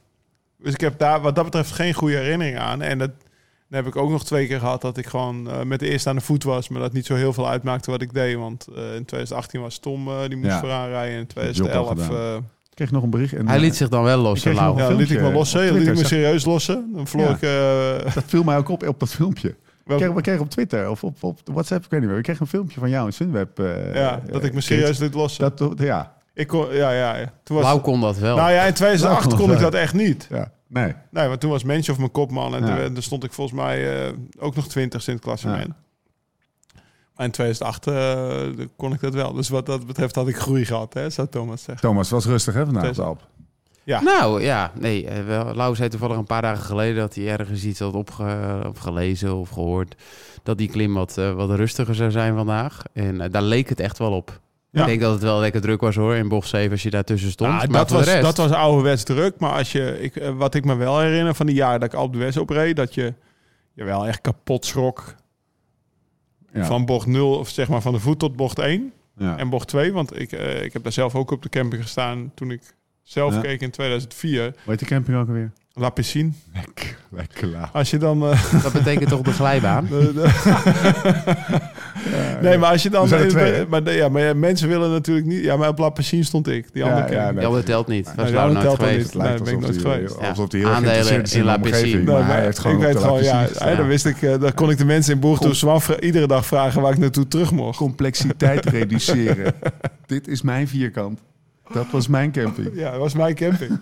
S4: Dus ik heb daar wat dat betreft geen goede herinnering aan. En dat, dan heb ik ook nog twee keer gehad dat ik gewoon eh, met de eerste aan de voet was. Maar dat niet zo heel veel uitmaakte wat ik deed. Want eh, in 2018 was Tom, eh, die moest
S1: Ja.
S4: vooraan rijden. In
S1: job al
S4: 2011... eh,
S1: Ik kreeg nog een bericht. En,
S3: Hij liet
S1: eh,
S3: zich dan wel los,
S1: kreeg
S3: Lau.
S1: nog-
S4: Ja,
S1: een
S4: dan liet ik
S1: filmpje eh,
S4: me lossen.
S1: op
S4: Dan liet ik me
S1: Twitter,
S4: serieus lossen. Dan verloor
S1: Ja.
S4: ik... eh,
S1: dat viel mij ook op op dat
S4: *laughs*
S1: filmpje.
S4: wel-
S1: We kregen, we kregen op Twitter of op, op WhatsApp, ik weet niet meer. We kregen een filmpje van jou in Sunweb. eh,
S4: ja,
S1: eh,
S4: dat ik me
S1: kids.
S4: serieus liet lossen.
S1: Dat, ja,
S4: Ik kon, ja, ja, ja. Toen was,
S3: Lau kon dat wel.
S4: nou ja, in 2008
S1: Blauw-
S4: kon ik dat echt niet.
S1: ja, nee.
S4: Nee, want toen was Mensch of mijn kopman. En
S1: Ja.
S4: toen, werd- toen stond ik volgens mij eh, ook nog 20 in het klassement. Maar in 2008 eh, kon ik dat wel. Dus wat dat betreft had ik groei gehad, hè, zou Thomas zeggen.
S1: Thomas, was rustig hè vandaag
S4: Test.
S1: op Alp.
S3: Nou ja, nee. eh, wel, Lau zei toevallig een paar dagen geleden dat hij ergens iets had opge, of gelezen of gehoord. Dat die klim wat, eh, wat rustiger zou zijn vandaag. En eh, daar leek het echt wel op.
S4: Ja.
S3: Ik denk dat het wel lekker druk was hoor in bocht 7 als je daartussen stond.
S4: Ah,
S3: maar
S4: dat,
S3: voor
S4: was,
S3: de rest,
S4: dat was ouderwets druk. Maar als je, ik, eh, wat ik me wel herinner van die jaren dat ik Alp de West opreed... dat je je wel echt kapot schrok
S1: Ja.
S4: van bocht 0... of zeg maar van de voet tot bocht 1
S1: ja.
S4: en bocht 2. Want ik, eh, ik heb daar zelf ook op de camping gestaan toen ik zelf
S1: Ja.
S4: keek in 2004.
S1: Hoe heet de camping ook alweer?
S4: La Piscine.
S1: Lekker, lekker laag.
S4: Als je dan... eh,
S3: dat betekent toch de glijbaan.
S4: de-
S1: *laughs*
S4: *laughs* de- *laughs* nee, maar als je dan...
S1: Er zijn er twee, hè?
S4: maar, de- ja, maar ja, mensen willen natuurlijk niet... Ja, maar op La Piscine stond ik. Die
S1: Ja,
S4: andere
S1: ja,
S4: camping.
S1: nee.
S3: Ja, dat telt niet.
S1: Nee,
S3: was
S4: dat
S3: Lau nooit
S4: telt dan
S3: geweest.
S4: niet.
S1: Het lijkt
S4: Nee, ben ik
S1: alsof
S4: nooit
S1: hij-
S4: geweest.
S1: Alsof hij
S3: Ja.
S1: heel
S3: Aandelen
S1: geïnteresseerd is in
S3: in
S1: de
S3: La
S1: omgeving.
S3: Piscine.
S1: Maar
S4: Nee,
S1: hij
S4: maar
S1: heeft gewoon
S4: ik
S1: op
S4: weet
S1: de
S4: gewoon, ja,
S1: televisie
S4: ja, dan wist ik, eh, dan kon ik de mensen in Boertoes iedere dag vragen waar ik naartoe terug mocht.
S1: *laughs* Complexiteit reduceren. Dit is mijn vierkant. Dat was mijn camping.
S4: Ja, dat was mijn camping.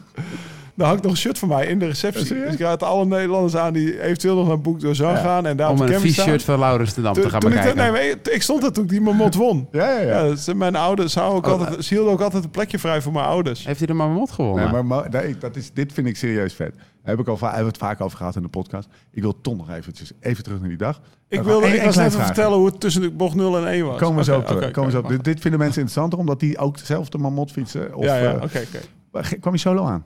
S4: Daar hangt nog een shirt van mij in de receptie.
S1: serieus?
S4: Dus ik raad alle Nederlanders aan die eventueel nog naar Boek door zou
S1: Ja.
S4: gaan en daar op
S3: Om
S4: de
S3: een
S4: camping
S3: t-shirt
S4: staan.
S3: van Laurens de Dam te
S4: Toen,
S3: gaan
S4: toen ik, dat-
S3: bekijken.
S4: nee, maar ik- ik stond daar toen ik die Mamot won.
S1: Ja, ja, ja.
S4: Ja, ze- mijn ouders houden ook
S3: Oh,
S4: altijd, ze hielden ook altijd een plekje vrij voor mijn ouders.
S3: Heeft hij er maar mot gewonnen?
S1: Nee, maar, maar nee, dat is, dit vind ik serieus vet. Daar heb ik al, va- hebben we het vaak over gehad in de podcast. Ik wil Tom nog eventjes even terug naar die dag.
S4: Ik
S1: Nog
S4: wilde
S1: één-
S4: ik
S1: één
S4: was
S1: klein
S4: even
S1: vraagje.
S4: vertellen hoe het tussen de bocht 0 en 1 was.
S1: Komen we zo
S4: Oké,
S1: op terug.
S4: oké,
S1: komen we zo
S4: oké,
S1: op. Dit, dit vinden mensen interessanter, omdat die ook zelf de mamot fietsen. Of,
S4: mag. Ja, ja,
S1: eh,
S4: oké, oké.
S1: maar ge- kwam je solo aan?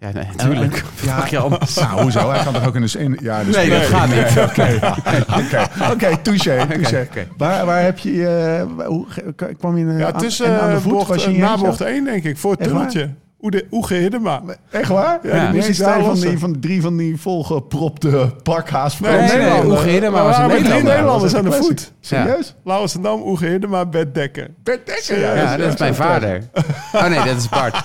S3: Ja, nee, natuurlijk. *laughs*
S1: Ja, *laughs* nou, hoezo? Hij kan toch ook in de... In, ja, dus
S3: Nee, dat gaat niet.
S1: *laughs* Oké, oké, oké, touché, touché.
S3: *laughs* oké.
S1: Waar, waar heb je... eh, hoe, ge- k- kwam je in, eh,
S4: Ja,
S1: aan-
S4: tussen
S1: en aan de
S4: eh,
S1: voet? was
S4: bocht,
S1: je in je
S4: na
S1: eentje?
S4: bocht 1 denk ik, voor het
S1: Echt waar?
S4: tunneltje. Oede- Oege Hiddema.
S1: Echt waar?
S4: Ja,
S1: Ja,
S4: die
S1: die
S4: moest
S1: zit
S4: ik daar
S1: daar van
S4: lossen.
S1: die, van drie van die volgepropte pakhaas.
S4: Nee,
S3: Nee, nee,
S4: Nederlander.
S3: Oege Hiddema was een
S4: Maar met drie
S3: Nederlander.
S4: Nederlanders aan de
S1: Dat was echt
S4: voet.
S1: Serieus?
S4: Laurens en Dam, Oege Hiddema, Bert Dekker.
S1: Bert Dekker, ja.
S3: Ja, dat is mijn vader. Oh nee, dat is Bart.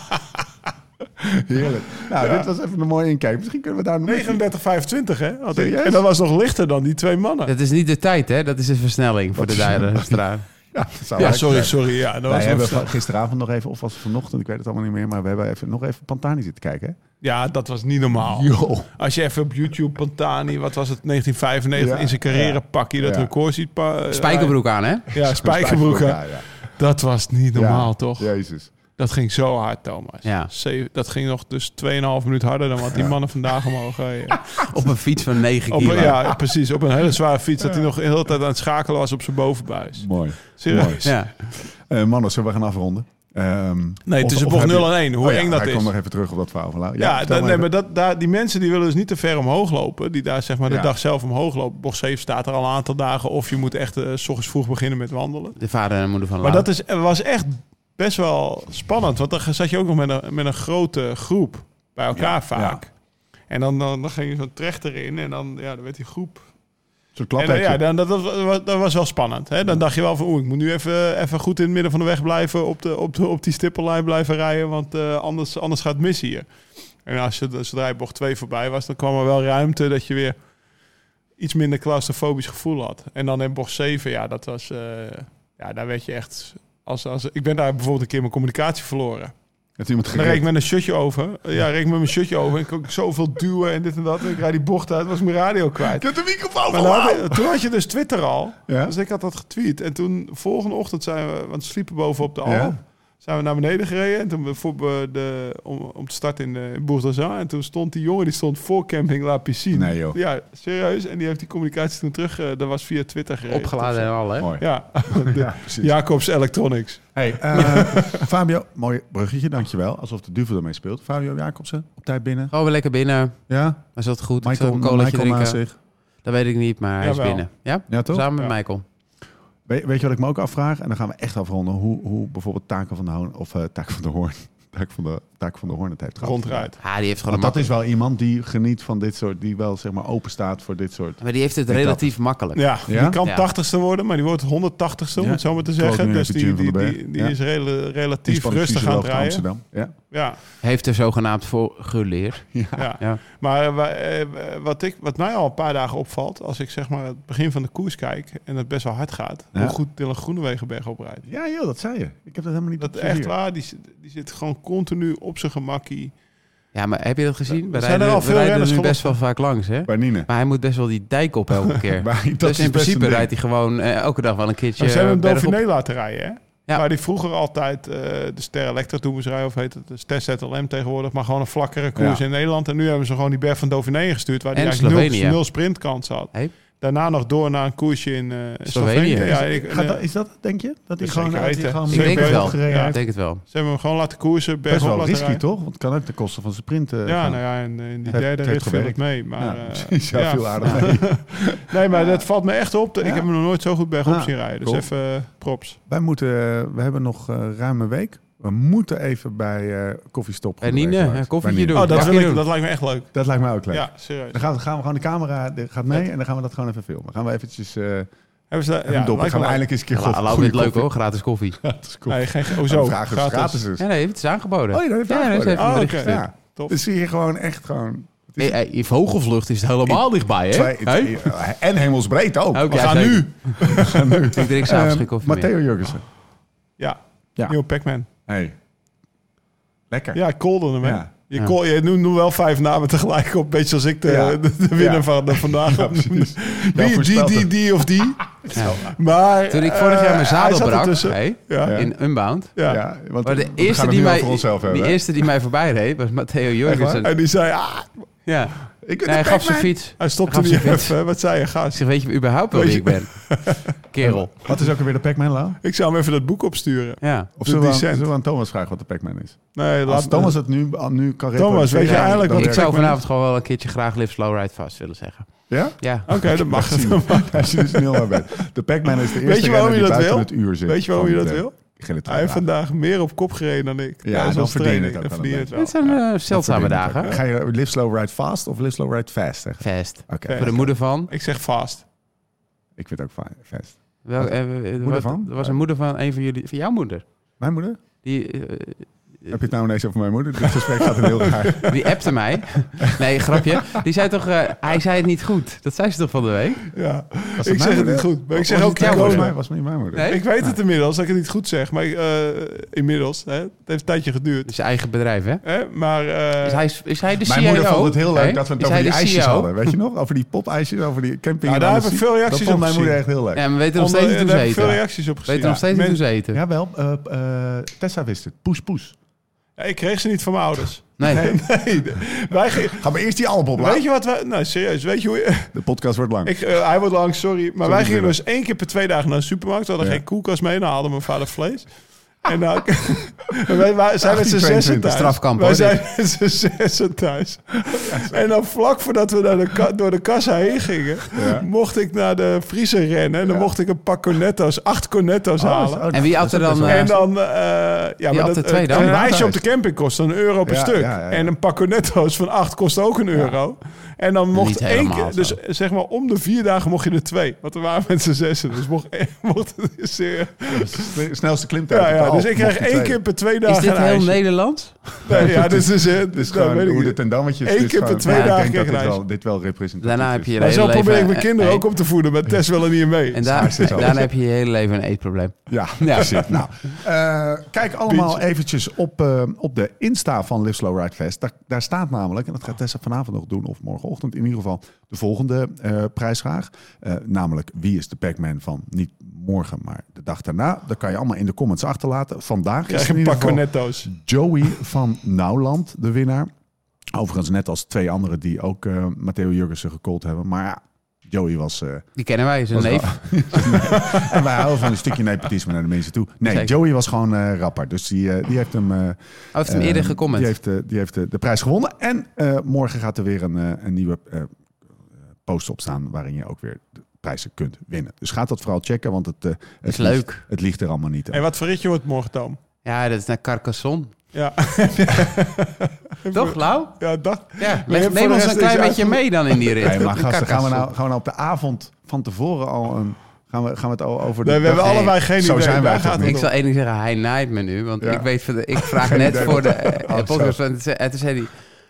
S1: Heerlijk. Nou, dit was even een mooie inkijk. Misschien kunnen we daar nog...
S4: 39, 25 hè? had ik.
S1: Serieus?
S4: En dat was nog lichter dan die twee mannen.
S3: Dat is niet de tijd, hè? Dat is een versnelling voor de duidelijkstraat.
S1: Ja, dat zou
S4: Ja,
S1: leuk
S4: sorry,
S1: zijn.
S4: sorry. Ja, dat
S1: Wij
S4: was
S1: hebben
S4: nog-
S1: va- gisteravond nog even, of was het vanochtend, ik weet het allemaal niet meer, maar we hebben even, nog even Pantani zitten kijken. hè?
S4: ja, dat was niet normaal.
S1: Yo.
S4: Als je even op YouTube Pantani, wat was het, 1995,
S1: Ja,
S4: in zijn carrière pak je dat
S1: ja.
S4: record ziet. pa-
S3: Spijkerbroek aan, hè?
S4: Ja, spijkerbroek.
S1: Ja,
S4: aan.
S1: ja.
S4: Dat was niet normaal,
S1: Ja,
S4: toch?
S1: Jezus.
S4: Dat ging zo hard, Thomas.
S3: Ja.
S4: Zeven- dat ging nog dus 2,5 minuut harder dan wat die mannen vandaag omhoog reden.
S3: *laughs* Op een fiets van 9
S4: Op,
S3: kilo.
S4: een- ja, precies. Op een hele zware fiets dat hij nog de hele tijd aan het schakelen was op zijn bovenbuis.
S1: Mooi.
S4: Serieus.
S3: Ja.
S1: Eh mannen, zullen we gaan afronden? Ehm,
S4: Nee,
S1: of-
S4: tussen
S1: of
S4: bocht
S1: heb
S4: 0
S1: je-
S4: en 1. Hoe
S1: Oh ja,
S4: eng dat
S1: hij
S4: is.
S1: kwam nog even terug op dat verhaal van Lau. vertel
S4: Ja, dan,
S1: maar
S4: nee,
S1: even.
S4: maar dat, daar, die mensen die willen dus niet te ver omhoog lopen. Die daar zeg maar de
S1: Ja.
S4: dag zelf omhoog lopen. Bocht 7 staat er al een aantal dagen. Of je moet echt eh, s ochtends vroeg beginnen met wandelen.
S3: De vader en de moeder van
S4: Maar
S3: Lau.
S4: dat is, was echt best wel spannend. Want dan zat je ook nog met een, met een grote groep bij elkaar vaak. En dan, dan, dan ging je zo'n trechter in. En dan, ja, dan werd die groep
S1: Zo'n
S4: en dan,
S1: klapheksje.
S4: ja, dan, dat, was- dat, was, dat was wel spannend. Hè? Dan dacht je wel van, oeh, ik moet nu even, even goed in het midden van de weg blijven, op, de, op, de, op die stippellijn blijven rijden, want eh, anders, anders gaat het mis hier. En als je, zodra je bocht 2 voorbij was, dan kwam er wel ruimte dat je weer iets minder claustrofobisch gevoel had. En dan in bocht 7, ja, dat was, eh, ja, daar werd je echt... Als, als, ik ben daar bijvoorbeeld een keer mijn communicatie verloren.
S1: Heeft iemand
S4: Dan reed ik
S1: gered?
S4: met een shirtje over. Ja, reed ik met mijn shirtje over. En ik kon zoveel duwen en dit en dat. En ik rijd die bocht uit, was mijn radio kwijt.
S1: Ik heb de microfoon
S4: Maar
S1: van
S4: dan had
S1: Lau.
S4: ik- toen had je dus Twitter al.
S1: Oh, Ja?
S4: Dus ik had dat getweet. En toen, volgende ochtend zijn we, want we sliepen boven op de Alp.
S1: Ja.
S4: Zijn we naar beneden gereden. En toen we voor we de, om, om te starten in, eh, in Bourg-d'Azan. En toen stond die jongen, die stond voor Camping La Piscine.
S1: Nee, joh.
S4: Ja, serieus. En die heeft die communicatie toen terug, eh, dat was via Twitter gereden.
S3: Opgeladen en al, hè?
S1: Mooi.
S4: Ja, de
S1: Ja, precies.
S4: Jacobs Electronics.
S1: Hey, eh, *laughs* Fabio, mooi bruggetje, dankjewel. Alsof de duvel ermee speelt. Fabio Jacobsen, op tijd binnen.
S3: Gewoon weer lekker binnen.
S1: Ja,
S3: Hij zat goed. Ik zal
S1: Michael,
S3: een colaatje
S1: Michael naast
S3: drinken.
S1: zich.
S3: Dat weet ik niet, maar hij is
S4: Jawel.
S3: binnen. Ja?
S1: Ja, toch?
S3: Samen
S4: Ja.
S3: met Michael.
S1: We- weet je wat ik me ook afvraag? En dan gaan we echt afronden. Hoe, hoe bijvoorbeeld Taken van de Hoorn, of eh Taken van de Hoorn, *laughs* Taken van de, Taken van de Hoorn het heeft gehad.
S4: Rondrijd.
S3: Ah, die heeft gewoon
S1: Want
S3: een
S1: dat
S3: mak-
S1: is wel iemand die geniet van dit soort, die wel zeg maar open staat voor dit soort.
S3: Maar die heeft het
S1: Ik
S3: relatief makkelijk.
S4: Ja,
S1: Ja?
S4: die kan
S3: Ja.
S4: 80ste worden, maar die wordt 180ste, om
S1: Ja.
S4: het zo maar te
S1: Ik geloof
S4: zeggen.
S1: nu
S4: Dus
S1: even
S4: die,
S1: Jim van
S4: die,
S1: den
S4: die,
S1: Berg.
S4: die
S1: Ja.
S4: is rela-
S1: Die
S4: relatief
S1: spannende
S4: rustig aan
S1: fysioloog
S4: het
S1: van
S4: rijden.
S1: Amsterdam. Ja.
S4: Ja.
S3: Heeft er zogenaamd voor geleerd.
S1: *laughs*
S4: Ja.
S3: Ja.
S4: Maar eh, wa- eh, wat, ik, wat mij al een paar dagen opvalt, als ik zeg maar het begin van de koers kijk en het best wel hard gaat,
S1: Ja.
S4: hoe goed Dylan Groenewegenberg oprijdt.
S1: Ja, joh, dat zei je. Ik heb dat helemaal niet op
S4: Dat echt
S1: papier.
S4: waar, die, zit- die zit gewoon continu op zijn gemakkie.
S3: Ja, maar heb je dat gezien? We
S4: Er zijn
S3: rijden,
S4: er al
S3: we
S4: veel
S3: rijden er
S4: renners
S3: nu
S4: gelopen.
S3: best wel vaak langs, hè?
S1: Bij Nine.
S3: Maar hij moet best wel die dijk op
S1: *laughs*
S3: elke keer.
S1: Maar dat
S3: dus
S1: is best
S3: in
S1: een
S3: principe
S1: ding.
S3: rijdt hij gewoon eh, elke dag wel een keertje
S4: Maar Nou, ze hebben hem
S3: eh, bergop.
S4: Dauphiné laten rijden, hè?
S3: Ja.
S4: Waar die vroeger altijd eh, de Ster Electra toen moest rijden, of heet het de Ster ZLM tegenwoordig, maar gewoon een vlakkere koers
S1: Ja.
S4: in Nederland. En nu hebben ze gewoon die berg van Dauphiné gestuurd, waar die
S3: En
S4: eigenlijk nul,
S3: Slovenië.
S4: nul sprintkans had.
S3: Hey.
S4: Daarna nog door naar een koersje in eh, Slovenië.
S3: Slovenië.
S4: Ja, ik,
S1: Gaat dat- is dat het, denk je? Dat hij
S4: is
S1: gewoon,
S4: zeker
S1: dat hij
S4: weten.
S1: gewoon
S3: Ik denk het wel.
S1: opgereden
S4: Ja.
S3: Ik
S1: heeft?
S3: denk het wel.
S4: Ze hebben hem gewoon laten koersen, bergop
S1: Best wel
S4: laten
S1: risky,
S4: rijden.
S1: toch? Want het kan ook ten koste van zijn print eh,
S4: Ja,
S1: gaan.
S4: nou ja, en eh, in die
S1: Het
S4: derde
S1: heeft
S4: rit viel
S1: gewerkt.
S4: het mee. Maar,
S1: *laughs* ja,
S4: eh,
S1: precies. Ja,
S4: ja.
S1: viel aardig mee.
S4: *laughs* Nee, maar dat valt me echt op. Ik
S1: Ja.
S4: heb hem nog nooit zo goed bergop
S1: Ah,
S4: zien rijden. Dus
S1: cool.
S4: even eh, props.
S1: Wij moeten, eh, we hebben nog eh, ruim een week. We moeten even bij eh koffiestop.
S3: Bij Nine,
S1: Groenewegen langs.
S3: eh, koffietje
S1: Bij Nine. Oh,
S3: doen.
S4: Oh, dat,
S3: mag
S4: wil
S3: je
S4: ik,
S3: doen.
S4: dat lijkt me echt leuk.
S1: Dat lijkt mij ook leuk.
S4: Ja, serieus.
S1: Dan gaan we, gaan we gewoon de camera die gaat mee en dan gaan we dat gewoon even filmen. Gaan we eventjes eh even
S4: Hebben ze dat?
S1: doppen.
S4: Ja, lijkt
S1: Gaan
S4: me
S1: we
S4: leuk.
S1: eindelijk eens een keer
S3: Lau- Lau
S1: goede
S3: vindt het leuk
S1: koffie-
S3: hoor, gratis koffie.
S1: Gratis koffie.
S4: Nee, geen, oh
S1: Zo,
S4: zo,
S1: gratis.
S4: gratis.
S1: dus.
S3: Ja, nee, heeft het is aangeboden.
S1: Oh, ja, dat heeft
S3: ja,
S1: hij
S3: dat heeft
S1: aangeboden.
S3: even een
S4: Oh,
S3: bericht
S4: oké.
S1: Ja.
S3: gestuurd.
S4: Top.
S1: Dus zie je gewoon echt gewoon...
S3: Hey, hey, in Vogelvlucht is het helemaal dichtbij, hè?
S1: Twee,
S3: Hey?
S1: twee- en hemelsbreed ook.
S3: Ook,
S1: we,
S3: ja,
S1: gaan
S3: zeker.
S1: nu, we gaan nu.
S3: *laughs* Ik drink s'avonds geen
S1: Ehm,
S3: koffie meer.
S1: Matteo Jurgensen.
S4: Oh. Ja,
S1: Ja.
S4: nieuwe Pac-Man.
S1: Hey. Lekker.
S4: Ja, ik kolde hem, hè.
S1: Ja.
S4: Je,
S3: Ja.
S4: call, je noemt noemt wel vijf namen tegelijk op, beetje als ik de,
S1: Ja.
S4: de, de winnaar
S1: Ja.
S4: van de vandaag
S1: *laughs* Ja,
S4: opnoemde.
S1: precies. Jou
S4: Die, die,
S1: voorspelt
S4: die,
S1: het.
S4: die of die.
S3: Ja.
S4: Maar,
S3: Toen ik vorig jaar mijn
S4: eh, hij
S3: zadel
S4: zat
S3: brak
S4: ertussen.
S3: hey,
S4: Ja.
S1: Ja.
S3: in Unbound...
S4: Ja.
S1: Ja, want
S3: Maar de
S1: we gaan
S3: eerste,
S1: het
S3: die
S1: nu
S3: mij,
S1: over onszelf hebben.
S3: die
S1: hè?
S3: eerste die mij voorbij reed was Matteo
S1: waar?
S3: Jorgensen.
S4: En die zei, ah,
S3: Ja.
S1: Ik
S3: Nee, hij gaf zijn fiets.
S4: hij stopte
S3: Gaf
S4: niet
S3: zijn fiets.
S4: even. hè. Wat zei je,
S3: Ik
S4: gast?
S3: zeg, weet je überhaupt wel
S4: Weet
S3: wie ik ben? Kerel.
S1: Wat is ook alweer de Pac-Man, Lau?
S4: Ik zou hem even dat boek opsturen.
S3: Ja.
S1: Of
S4: De
S1: zullen we, aan,
S4: Descent.
S1: zullen we aan Thomas vragen wat de Pac-Man is?
S4: Nee, laat
S1: Als
S4: me-
S1: Thomas het nu, al nu kan
S4: Thomas, weet je
S1: reproduceren,
S4: eigenlijk
S1: dan
S4: wat
S3: Ik
S1: werkt
S3: zou
S4: werk ik
S3: vanavond gewoon wel een keertje graag Live Slow Ride Fast willen zeggen.
S1: Ja?
S3: Ja.
S4: Oké, dat mag.
S1: Zien.
S4: *laughs* Dat
S1: *laughs*
S4: mag.
S1: Als je dus nu al bent. De Pac-Man is de eerste
S4: je waarom
S1: renner
S4: je
S1: die buiten
S4: dat wil?
S1: het uur zit.
S4: Weet je waarom je
S1: van
S4: dat
S1: de
S4: wil?
S1: gele
S4: Hij heeft
S1: trui.
S4: vandaag meer op kop gereden dan ik.
S1: Ja,
S4: Tijdens
S1: dan
S4: onze
S1: verdien je het
S4: training.
S1: ook
S4: Dan
S1: wel
S4: verdien
S1: een
S4: je
S3: Dit
S4: het wel.
S3: zijn eh, zeldzame
S1: Verdient
S3: dagen.
S1: ook. Ga je live slow ride fast of live slow ride fast zeggen?
S3: Fast.
S1: Oké,
S4: Fast.
S3: Voor de moeder van.
S4: Ik zeg vast.
S1: ik vind het ook fijn. fast.
S3: Wel, eh, eh, er
S1: Moeder
S3: was-
S1: van?
S3: Er was een moeder van een van jullie. Van jouw moeder.
S1: Mijn moeder?
S3: Die, eh,
S1: Heb je het nou ineens over mijn moeder? Dit gesprek gaat
S4: *laughs*
S1: een heel raar.
S3: Die appte mij. Nee, grapje. Die zei toch, eh, hij zei het niet goed. Dat zei ze toch van de week?
S4: Ja.
S1: Was
S4: Ik
S1: mijn
S4: zeg het
S1: moeder?
S4: niet goed, maar ik
S1: Was
S4: zeg
S1: het
S4: ook
S1: jouw
S3: corona.
S1: moeder? Volgens mij was het niet mijn moeder.
S3: Nee?
S4: Ik weet het inmiddels, dat ik het niet goed zeg. Maar eh, inmiddels, hè, het heeft een tijdje geduurd.
S3: Dus zijn eigen bedrijf, hè?
S4: Hè? Maar eh,
S3: Is Dus hij, is hij de CEO?
S1: Mijn
S4: E
S1: moeder vond het heel leuk
S3: Hè?
S1: dat we het
S3: Is
S1: over
S3: hij
S1: die
S3: de E
S1: ijsjes
S3: CEO?
S1: hadden. Weet je nog? Over die popijsjes, over die camping.
S4: Ja,
S1: en
S4: E Nou, daar
S1: alles.
S4: heb ik veel reacties
S1: Dat vond
S4: op
S1: mijn moeder echt
S4: gezien.
S1: heel leuk.
S3: Ja, maar we weten nog
S4: onder-
S3: steeds niet hoe
S4: daar
S3: ze
S4: heb ik
S3: eten.
S4: veel
S3: We
S4: reacties op gezien.
S3: weten nog
S4: Ja.
S3: steeds niet hoe
S4: Men-
S3: ze eten.
S1: Jawel, eh, eh, Tessa wist het. Poes, poes.
S4: Ja, ik kreeg ze niet van mijn ouders. *laughs*
S3: Nee.
S4: Nee, de- wij gingen-
S1: Ga maar eerst die album opladen.
S4: Weet je wat wij... Nou, serieus. Weet je *laughs* hoe... je-
S1: De podcast wordt lang.
S4: Ik, eh, hij wordt lang, sorry. Maar wij gingen
S1: Willem.
S4: dus één keer per twee dagen naar de supermarkt. We hadden
S1: Ja.
S4: geen koelkast mee. Dan haalde mijn vader vlees. En nou... *laughs* en wij, wij zijn met z'n
S1: 18,
S4: zessen
S1: 22,
S4: thuis.
S3: strafkamp,
S4: wij
S3: hoor,
S4: zijn met z'n zessen thuis. En dan vlak voordat we naar de ka- door de kassa heen gingen... mocht ik naar de vriezer rennen. En dan mocht ik een pak cornetto's, acht
S1: Oh,
S4: cornetto's halen.
S3: En wie had er dan... eh,
S4: En dan, eh, ja, maar
S3: had
S4: dat,
S3: er twee
S4: het-
S3: dan?
S4: een reisje op de camping kost een euro per
S1: Ja,
S4: stuk.
S1: ja, ja, ja.
S4: En een pak cornetto's van acht kost ook een euro. En dan mocht
S3: Niet
S4: één
S3: helemaal
S4: keer, dus
S3: zo.
S4: zeg maar om de vier dagen mocht je er twee. Want er waren met z'n zessen, dus mocht, *laughs* mocht het is zeer.
S1: De snelste klimtijd.
S4: Ja,
S1: op de
S4: ja,
S1: Alp
S4: dus ik krijg
S1: mocht die
S4: één
S1: twee.
S4: keer per twee
S3: is
S4: dagen
S3: dit
S4: een
S3: heel
S4: ijsje.
S3: Nederland?
S4: Nee, ja, dus, dus, dus,
S1: gewoon
S4: nou, weet ik
S1: hoe de
S4: niet.
S1: tendammetjes.
S4: Eén
S1: dit is
S4: keer per
S1: gewoon-
S4: twee
S1: ja,
S4: dagen
S1: Ik denk dat
S4: krijg
S1: dit
S4: je
S1: wel, dit wel representatief
S3: Daarna heb
S1: is.
S3: je je
S4: Maar
S3: hele
S4: zo
S3: leven...
S4: probeer ik mijn
S3: eh,
S4: kinderen
S3: eh,
S4: ook op te voeden, maar Tess wil er niet in mee.
S3: En daar,
S1: Schaarste is
S3: daarna
S1: alles.
S3: heb je je hele leven een eetprobleem.
S1: Ja, *laughs*
S3: Ja.
S1: precies. Nou, eh, kijk allemaal eventjes op, eh, op de Insta van Live Slow Ride Fest. Daar, daar staat namelijk, en dat gaat Tessa vanavond nog doen... of morgenochtend in ieder geval, de volgende eh, prijsvraag. Eh, namelijk, wie is de Pac-Man van niet morgen, maar de dag daarna? Dat kan je allemaal in de comments achterlaten. Vandaag is het
S4: Krijg je
S1: in
S4: een
S1: ieder
S4: pak
S1: geval
S4: cornetto's.
S1: Joey van Nauwland, de winnaar. Overigens net als twee anderen die ook eh, Matteo Jurgensen gecallt hebben. Maar ja, Joey was... eh,
S3: Die kennen wij, zijn
S1: Was wel-
S3: neef.
S1: *laughs* en wij houden van een stukje nepotisme naar de mensen toe. Nee,
S3: Zeker.
S1: Joey was gewoon eh, rapper. Dus die, eh, die heeft hem... eh,
S3: Hij Oh, heeft hem eerder
S1: eh,
S3: gecomment.
S1: Die heeft, eh, die heeft eh, de prijs gewonnen. En eh, morgen gaat er weer een, eh, een nieuwe eh, post op staan... waarin je ook weer de prijzen kunt winnen. Dus gaat dat vooral checken, want het... eh, het
S3: Is
S1: liegt-
S3: leuk.
S1: Het ligt er allemaal niet.
S4: En wat voor ritje wordt morgen, Toom?
S3: Ja, dat is naar Carcassonne.
S4: Ja,
S3: *laughs* Toch, Lau?
S4: ja dat,
S3: Ja,
S4: voor
S3: leg,
S4: de
S3: neem ons
S4: rest
S3: een
S4: is
S3: klein beetje
S4: eigenlijk-
S3: mee dan in *laughs* die rit.
S1: Nee, maar
S3: Naar
S1: gasten, gaan we,
S3: Carcassonne.
S1: nou, gaan we nou op de avond van tevoren al een... Gaan we, gaan we het al over de...
S4: nee, we hebben
S3: Nee,
S4: allebei geen
S1: zo
S4: idee.
S1: zijn wij
S4: Daar
S1: toch
S4: gaat
S1: niet.
S4: het
S3: Ik
S4: om.
S3: zal één ding zeggen, hij naait me nu. Want
S1: Ja.
S3: ik, weet, van de- ik vraag net
S1: idee
S3: voor de
S1: Oh,
S3: eh,
S1: zo.
S3: podcast. En toen zei- en toen zei hij,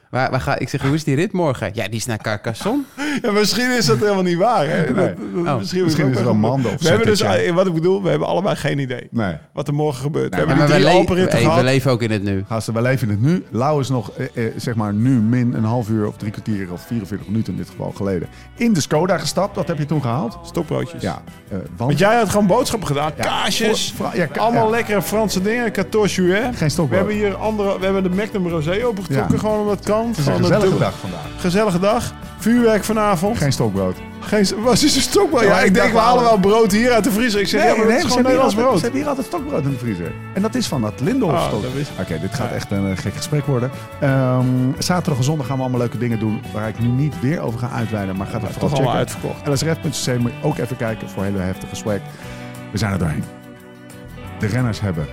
S3: waar, waar ga, ik zeg, hoe is die rit morgen? Ja, die is naar Carcassonne.
S4: *laughs* Ja, misschien is dat helemaal niet waar. Hè? Dat-
S1: Nee.
S4: dat-
S3: Oh,
S1: misschien
S4: ook
S1: is er
S4: echt-
S1: een mandel of
S4: We hebben dus,
S1: zettertje.
S4: wat ik bedoel, we hebben allebei geen idee
S1: Nee.
S4: wat er morgen gebeurt.
S1: Nee,
S4: we
S3: Ja,
S4: hebben
S3: maar
S4: die
S3: we,
S4: drie
S3: le-
S4: open ritten
S3: hey, we
S4: gehad.
S3: leven ook in het nu.
S1: Gasten, we leven in het nu. Lau is nog, eh, eh, zeg maar nu min een half uur of drie kwartier of 44 minuten in dit geval geleden. In de Skoda gestapt. Wat heb je toen gehaald?
S4: Stokbroodjes.
S1: Ja, eh, want...
S4: Want jij had gewoon boodschappen gedaan. Kaasjes.
S1: Voor- voor- ja, ka-
S4: allemaal
S1: ja.
S4: lekkere Franse dingen. 14 juin.
S1: Geen stokbrood.
S4: We hebben hier andere... We hebben de Magnum Rosé opengetrokken
S1: Ja.
S4: gewoon omdat het kan.
S1: Het is een gezellige dag vandaag.
S4: Gezellige dag. Vuurwerk vanavond.
S1: Geen stokbrood.
S4: Geen, was is een stokbrood? Ja,
S1: Ja,
S4: ik,
S1: ik
S4: denk,
S1: dacht
S4: we halen
S1: wel-
S4: wel brood hier uit de vriezer. Ik zeg, ja, maar dat
S1: ze
S4: is gewoon
S1: hebben hier
S4: Nederlands
S1: altijd- Ze
S4: brood.
S1: hebben hier altijd stokbrood in de vriezer. En dat is van dat Lindorf
S4: Ah,
S1: stokbrood.
S4: dat wist ik.
S1: Oké, dit gaat echt een eh, gek gesprek worden. Ehm, zaterdag en zondag gaan we allemaal leuke dingen doen waar ik nu niet weer over ga uitweiden. Maar ga dat
S4: Toch
S1: vooral
S4: allemaal
S1: checken.
S4: uitverkocht.
S1: lsref.cc moet je ook even kijken voor hele heftige swag. We zijn er doorheen. De renners hebben,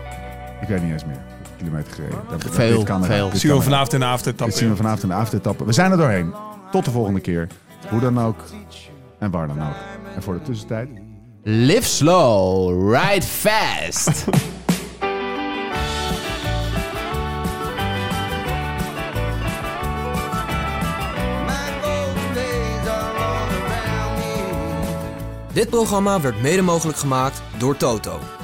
S1: ik weet niet eens meer, hoeveel kilometer gereden. Dat- dat-
S3: Veel,
S1: dit kan eraan,
S3: veel.
S1: dit
S4: Zien
S1: kan
S4: we
S1: eraan.
S4: vanavond in de avondetappe.
S1: Dit zien we vanavond in de avondetappe. We zijn er doorheen. Tot de volgende keer. Hoe dan ook en waar dan ook. En voor de tussentijd...
S3: Live slow, ride fast.
S2: My golden days are all around me.
S7: Dit programma werd mede mogelijk gemaakt door Toto.